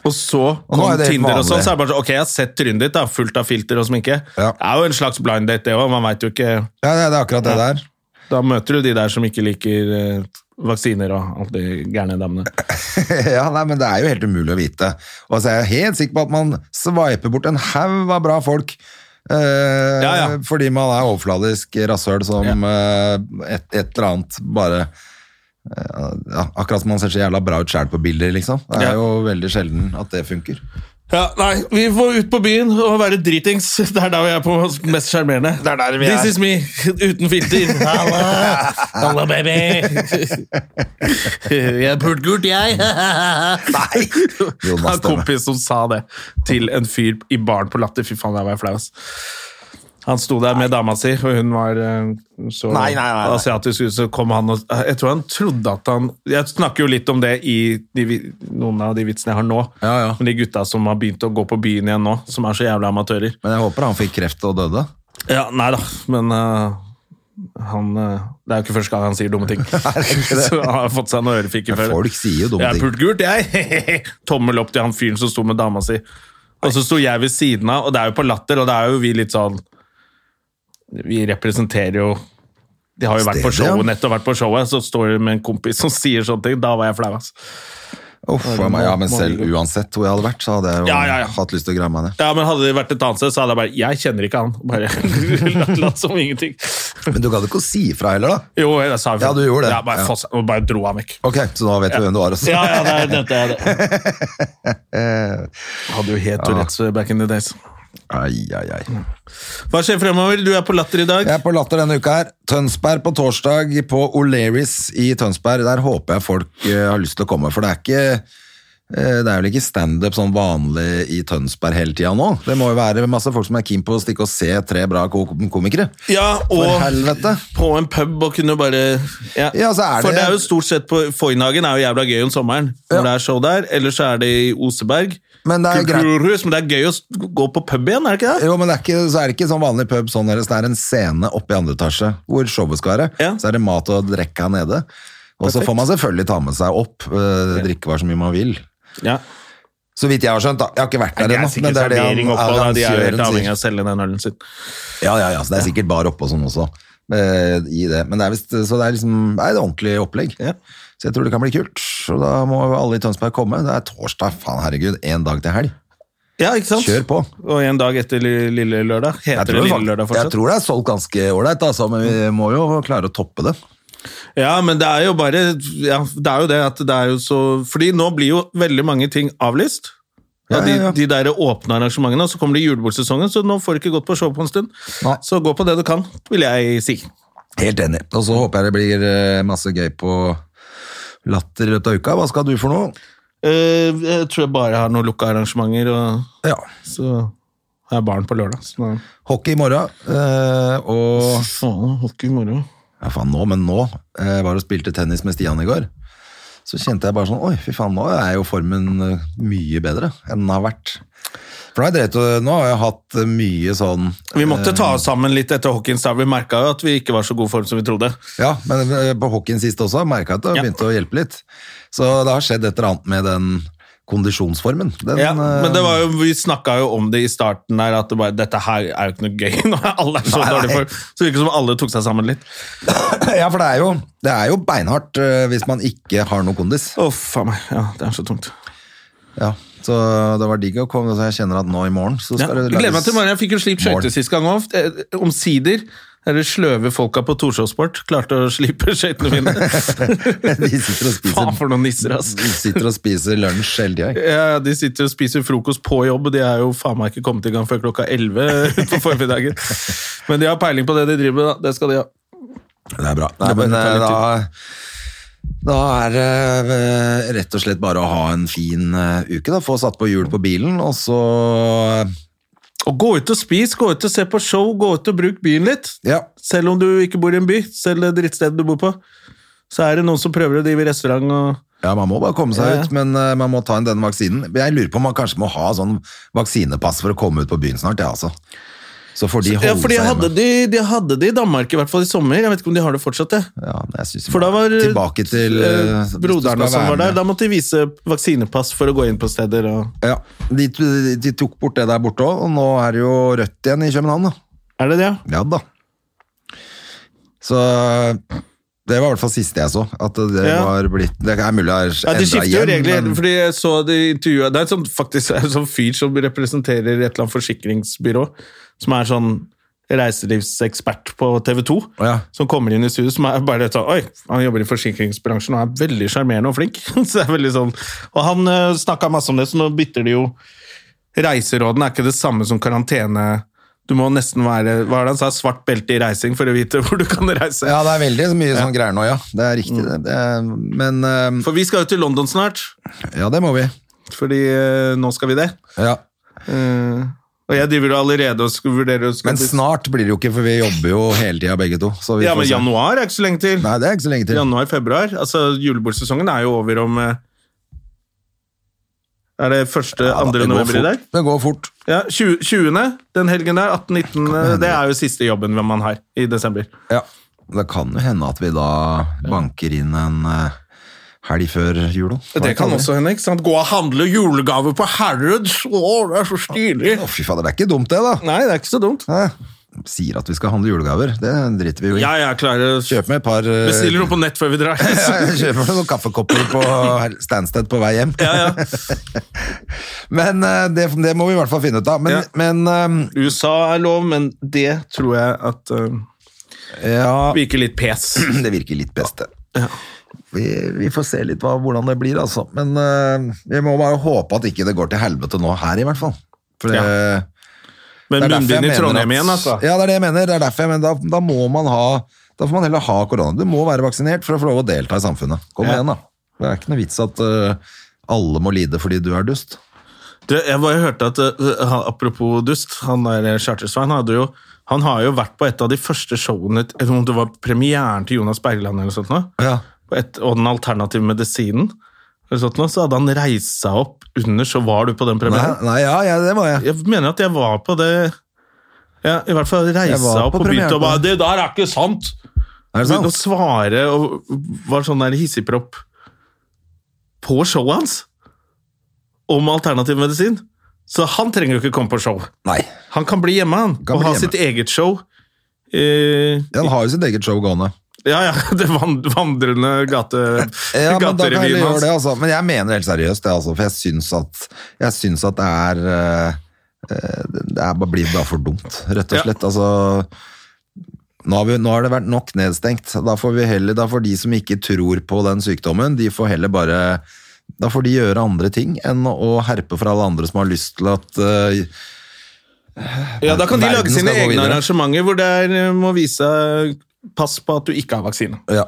Og så
nå
kom
er det helt
Tinder og sånn,
vanlig.
så er det bare sånn Ok, jeg har sett trynet ditt, da, fullt av filter og sminke.
Ja.
Det er jo en slags blind date, det òg. Man veit jo ikke
Ja, det, det er akkurat det der.
Da møter du de der som ikke liker eh, vaksiner og alt de gærne damene.
ja, nei, men det er jo helt umulig å vite. Og så er jeg helt sikker på at man sveiper bort en haug av bra folk. eh,
Ja, ja.
Fordi man er overfladisk rasshøl som eh, et, et eller annet bare ja, akkurat som man ser så jævla bra ut sjæl på bilder, liksom. Det
Ja.
er jo veldig sjelden at det funker.
Ja, nei, vi får ut på byen og være dritings. Det er da vi er på oss mest sjarmerende.
Det er der vi
This
er.
is me, uten filter. Halla, Halla, baby. Jeg er pult gult, jeg. Nei! Jeg har
Jonas
en kompis som sa det til en fyr i baren på Latter. Fy faen, jeg var flau, ass. Han sto der med dama si, og hun var eh, så
Nei, nei, nei, nei.
asiatisk ut, så kom han og eh, Jeg tror han trodde at han Jeg snakker jo litt om det i de, vi- noen av de vitsene jeg har nå.
Ja, ja.
Men de gutta som har begynt å gå på byen igjen nå, som er så jævla amatører.
Men jeg håper han fikk kreft og døde.
Ja, nei da, men eh, han eh, Det er jo ikke første gang han sier dumme ting. så han har fått seg noen ørefiker
Men
før.
folk sier jo dumme
Jeg er
ting.
pult gult, jeg! Tommel opp til han fyren som sto med dama si. Og så sto jeg ved siden av, og det er jo på latter, og det er jo vi litt sånn Vi representerer jo De har jo vært på
Stedet, ja.
showet, nettopp vært på showet, så står de med en kompis som sier sånne ting. Da var jeg flau, ass.
Uff, ja, men- ja, men selv uansett hvor jeg hadde vært, så hadde jeg jo
Ja, ja, ja.
hatt lyst til å greie meg ned.
Ja, men hadde det vært et annet sted, så hadde jeg bare Jeg kjenner ikke han. Bare latt, latt som ingenting.
Men du gadd ikke å si ifra heller, da.
Jo, jeg sa jo
Ja, du gjorde det.
Ja, bare,
Ja.
foss- og bare dro han vekk.
Ok, så da vet du hvem du var. Også. Eh,
Ja, ja, det er dette er det. Hadde jo helt Tourettes back in the days.
Ai, ai, ai.
Hva skjer fremover? Du er på latter i dag.
Jeg er på Latter denne uka her. Tønsberg på torsdag på Oleris i Tønsberg. Der håper jeg folk eh, har lyst til å komme, for det er ikke eh, det er vel ikke standup sånn vanlig i Tønsberg hele tida nå? Det må jo være masse folk som er keen på å stikke og se tre bra ko- komikere.
Ja,
For
og
helvete!
på en pub og kunne bare
Ja, så er
For
det-
det er jo stort sett på Foynhagen er jo jævla gøy om sommeren når
Ja.
det er show der. Eller så er det i Oseberg.
Men det er greit.
Kulturhus, men det er gøy å s- gå på pub igjen, er det ikke det?
Jo, men det er ikke, så er det ikke sånn vanlig pub sånn deres. Det er en scene oppe i andre etasje hvor showet skal være.
Ja.
Så er det mat og drikke her nede. Og så
Perfekt.
får man selvfølgelig ta med seg opp eh, drikkevarer så mye man vil.
Ja.
Så vidt jeg har skjønt, da. Jeg har ikke vært der
Det er
ennå.
sikkert
det er det
servering oppå, da. de er jo helt
arrangøren
avhengig
sier.
av å selge den ølen sin.
Ja, ja, ja, så det er sikkert bar oppe og sånn også. eh, I det. Men det er visst Så det er liksom det er et ordentlig opplegg.
Ja.
Så jeg tror det kan bli kult. Og da må alle i Tønsberg komme. Det er torsdag, faen herregud. Én dag til helg.
Ja, ikke sant?
Kjør på.
Og en dag etter li- Lille Lørdag.
Jeg tror,
Heter det
det,
Lille
fakt- jeg
Lørdag fortsatt? Mm.
tror det er solgt ganske ålreit, altså, men vi må jo klare å toppe det.
Ja, men det er jo bare ja, Det er jo det at det er jo så Fordi nå blir jo veldig mange ting avlyst.
Ja,
Av de,
ja, ja.
de der åpne arrangementene, og så kommer det julebordsesongen, så nå får du ikke gått på show på en stund.
Nei.
Så gå på det du kan, vil jeg si.
Helt enig. Og så håper jeg det blir eh, masse gøy på Latter i løpet av uka. Hva skal du for noe?
Eh, jeg tror jeg bare har noen lukka arrangementer, og
Ja,
så har jeg barn på lørdag. Så da
Hockey i morgen. eh, og
Faen, hockey i morgen.
Ja, faen nå, men nå eh, var det og spilte tennis med Stian i går. Så kjente jeg bare sånn, oi, fy faen, nå er jo formen eh, mye bedre enn den har vært. For nå har jeg, drevet, og- nå har jeg hatt eh, mye sånn,
Vi måtte ta oss sammen litt etter hockeyen startet. Vi merka jo at vi ikke var så god form som vi trodde.
ja, men eh, på hockeyen sist også, merket jeg at det
Ja.
begynte å hjelpe litt. Så det har skjedd et eller annet med den kondisjonsformen. Den,
Ja,
eh,
men det var jo, vi snakka jo om det i starten der, at det bare, dette her er jo ikke noe gøy. Nå er alle så
Nei, nei.
dårlig form. Så det virker som alle tok seg sammen litt.
eh, ja, for det er jo, det er jo beinhardt eh, hvis man ikke har noe kondis.
Å, faen meg. Ja, det er så tungt.
Ja, så det var digg å komme, så jeg kjenner at nå i morgen så
Ja,
skal det
jeg gleder meg til i morgen. Jeg fikk jo slipt skøyter
Morgen.
sist gang òg. Omsider. Eller sløve folka på Torshov-sport klarte å slipe skøytene mine.
De sitter og spiser
Faen for noen nisser, ass.
De sitter og spiser lunsj hele tida.
Ja, de sitter og spiser frokost på jobb, og de er jo faen meg ikke kommet i gang før klokka 11 på formiddagen. Men de har peiling på det de driver med, da. Det skal de ha.
Det er bra. Nei, men
Det
eh,
er bare å
da,
ta
da er det eh, rett og slett bare å ha en fin eh, uke, da. Få satt på hjul på bilen, og så eh,
Og gå ut og spis, gå ut og se på show, gå ut og bruk byen litt.
Ja.
Selv om du ikke bor i en by, selv det drittstedet du bor på, så er det noen som prøver å drive restaurant og
Ja, man må bare komme seg
Ja, ja.
ut, men eh, man må ta inn denne vaksinen. Jeg lurer på om man kanskje må ha sånn vaksinepass for å komme ut på byen snart, ja, altså. Så får de holde
Ja, for de
seg
hadde,
hjemme.
de, de hadde det i Danmark, i hvert fall i sommer. Jeg vet ikke om de har det fortsatt, det.
Ja, men jeg synes
For da var
Tilbake til eh,
eh,
hvis du skal
broderne som
være
var der.
med.
Da måtte de vise vaksinepass for å gå inn på steder og
Ja, de, de tok bort det der borte òg, og nå er det jo rødt igjen i København, da.
Er det det, ja?
Ja da. Så det var i hvert fall siste jeg så. At det
Ja.
var blitt Det er mulig det er
Ja, De
endret
skifter jo
igjen,
regler,
men-
fordi jeg så det intervjuet Det er et sånt, faktisk er det en sånn fyr som representerer et eller annet forsikringsbyrå, som er sånn reiselivsekspert på TV 2
Ja.
som kommer inn i studio, som er bare sånn Oi, han jobber i forsikringsbransjen og er veldig sjarmerende og flink. så det er veldig sånn. Og han uh, snakka masse om det, så nå bytter de jo Reiserådene er ikke det samme som karantene. Du må nesten være hva er det han sa, svart belte i reising for å vite hvor du kan reise.
Ja, det er veldig mye sånn greier nå, ja. Det er riktig,
Mm.
det. det er, men eh,
For vi skal jo til London snart,
Ja, det må vi.
fordi eh, nå skal vi det.
Ja.
Eh, og jeg driver jo allerede og skal vurdere å skal
Men
til-
snart blir det jo ikke, for vi jobber jo hele tida begge to. Så vi
Ja,
får
men
se.
januar er ikke så lenge til.
Nei, det er ikke så lenge til.
Januar-februar. Altså, Julebordsesongen er jo over om eh, Er det første,
Ja, da,
andre
det går
november i dag?
fort. Det går fort.
Ja, 20, 20. Den helgen der, 18-19, eh, det er jo siste jobben man har i desember.
Ja. Det kan jo hende at vi da banker inn en eh, helg før jul. da.
Det kan også hende. ikke sant? Gå og handle julegaver på Harrods! Å, det er så stilig!
Å, fy fader, det er ikke dumt det, da.
Nei, det er ikke så dumt.
Hæ? Sier at vi skal handle julegaver. Det driter vi jo i.
Ja, jeg klarer å
Kjøper med et par eh,
Bestiller noe på nett før vi drar.
ja, jeg kjøper noen kaffekopper på Stansted på vei hjem.
Ja, ja.
Men eh, det, det må vi i hvert fall finne ut av. Men,
Ja.
men eh,
USA er lov, men det tror jeg at eh,
ja
virker litt pes.
Det virker litt best, det. Vi, vi får se litt hva, hvordan det blir, altså. Men eh, vi må bare håpe at ikke det går til helvete nå her, i hvert fall. For det,
Ja.
det
Men
er derfor jeg
munnbind i
mener
Trondheim
at-
igjen, altså.
Ja, det er det jeg mener. Det er derfor jeg mener, da, da må man ha da får man heller ha korona. Du må være vaksinert for å få lov å delta i samfunnet. Kom
Ja.
igjen, da. Det er ikke noe vits at eh, alle må lide fordi du er dust.
Du, jeg bare hørte at eh, han- Apropos dust, han der eh, Chartersvein hadde jo han har jo vært på et av de første showene jeg tror Det var premieren til Jonas Bergland eller noe sånt. nå,
Ja.
på et, og Den alternative medisinen. Eller sånt nå, så hadde han reist seg opp under, så var du på den
Nei,
premieren.
nei ja, ja, det må jeg.
Jeg mener at jeg var på det ja, I hvert fall reiste
Jeg var
seg opp
på
og begynte
premieren
å bare
på
Det der er ikke sant!
Er det
Begynte å
sant?
svare og var sånn der hissigpropp på showet hans om alternativ medisin. Så han trenger jo ikke komme på show.
Nei.
Han kan bli hjemme, han.
Kan
og
bli
ha
hjemme.
sitt eget show. Eh,
Han har jo sitt eget show gående.
ja, ja. Det van- vandrende gate,
Ja, men da kan jeg
gaterevyen
gjøre
hans.
det, altså. Men jeg mener helt seriøst det, altså. For jeg syns at, jeg syns at det er eh, eh, Det er bare, blir bare for dumt, rett og
Ja.
slett. Altså nå har, vi, nå har det vært nok nedstengt. Da får, vi heller, da får de som ikke tror på den sykdommen, de får heller bare Da får de gjøre andre ting enn å herpe for alle andre som har lyst til at eh,
Ja, da kan de
Verden
lage
skal
sine
gå
egne
videre.
arrangementer hvor det er, eh, må vise pass på at du ikke har vaksine.
Ja,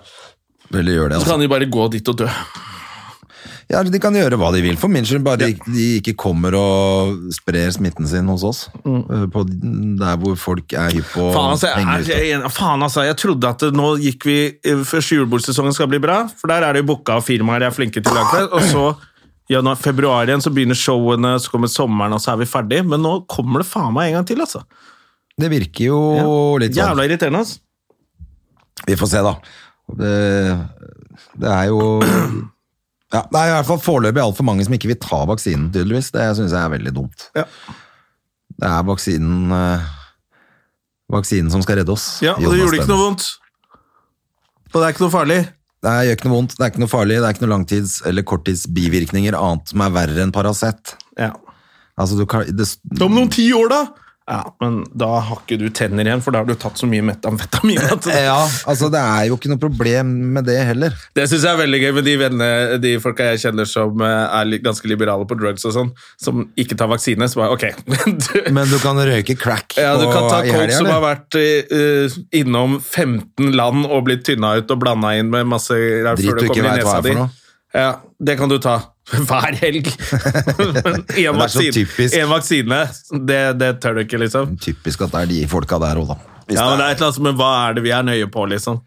eller gjør det,
Så
altså.
kan de bare gå dit og dø.
Ja, de kan gjøre hva de vil, for min skyld, bare de- de ikke kommer og sprer smitten sin hos oss. Eh, På der hvor folk er hypp på
Mm. Faen altså, jeg,
hengehytta.
jeg, jeg, faen, altså. Jeg trodde at det, nå gikk vi eh, Første julebordsesongen skal bli bra, for der er det jo booka av firmaer jeg er flinke til å lage det. Og så januar, februar igjen, så begynner showene, så kommer sommeren, og så er vi ferdig. Men nå kommer det faen meg en gang til, altså.
Det virker jo litt sånn.
Jævla irriterende, altså.
Vi får se, da. Det, det er jo ja, Det er i hvert fall foreløpig altfor mange som ikke vil ta vaksinen, tydeligvis. Det syns jeg er veldig dumt.
Ja.
Det er vaksinen eh, Vaksinen som skal redde oss.
Ja, og det
Jonas
gjorde ikke
Stønner.
noe vondt. Og det er ikke noe farlig.
Det gjør ikke noe vondt, det er ikke noe farlig, det er ikke noe langtids- eller korttidsbivirkninger annet som er verre enn Paracet.
Ja.
Altså, du kan, det,
Om noen ti år, da? Ja, men da har ikke du tenner igjen, for da har du tatt så mye metamfetamin. At
ja, altså, det er jo ikke noe problem med det heller.
Det syns jeg er veldig gøy med de, vennene, de folka jeg kjenner som eh, er li- ganske liberale på drugs og sånn, som ikke tar vaksine. Så bare, ok, du,
Men du kan røyke crack
ja, du kan ta
på- i
folk
helga,
som har
eller?
vært eh, innom 15 land og blitt tynna ut og blanda inn med masse greier
Drit
før
du
det
ikke
kommer i
vet hva
nesa
er for
di.
noe.
Ja, det kan du ta hver helg. Men én
er så
vaksine,
typisk.
en vaksine det, det tør du ikke, liksom.
Typisk at det er de folka der òg, da. Hvis
Ja, men det
det
er et eller annet som, men hva er det vi er nøye på, liksom?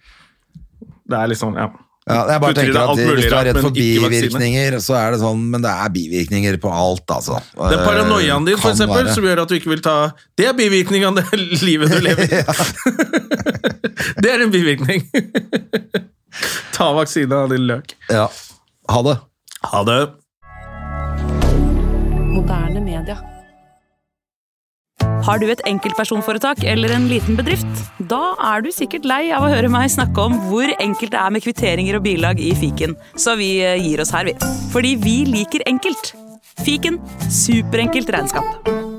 Det er liksom, ja.
er- ja, jeg bare
putter
tenker
i deg
at
alt
de- Hvis
mulig
du er
rart,
redd for
men ikke vaksine.
bivirkninger, så er det sånn Men det er bivirkninger på alt, altså. Eh,
Det er paranoiaen din, for
Kan
eksempel,
være.
som gjør at du ikke vil ta Det er bivirkning av det livet du lever. det er en bivirkning. ta vaksine av din løk.
Ja. Ha det.
Ha det.
Moderne media.
Har du et enkeltpersonforetak eller en liten bedrift? Da er du sikkert lei av å høre meg snakke om hvor enkelt det er med kvitteringer og bilag i fiken, så vi eh, gir oss her, vi. Fordi vi liker enkelt. Fiken superenkelt regnskap.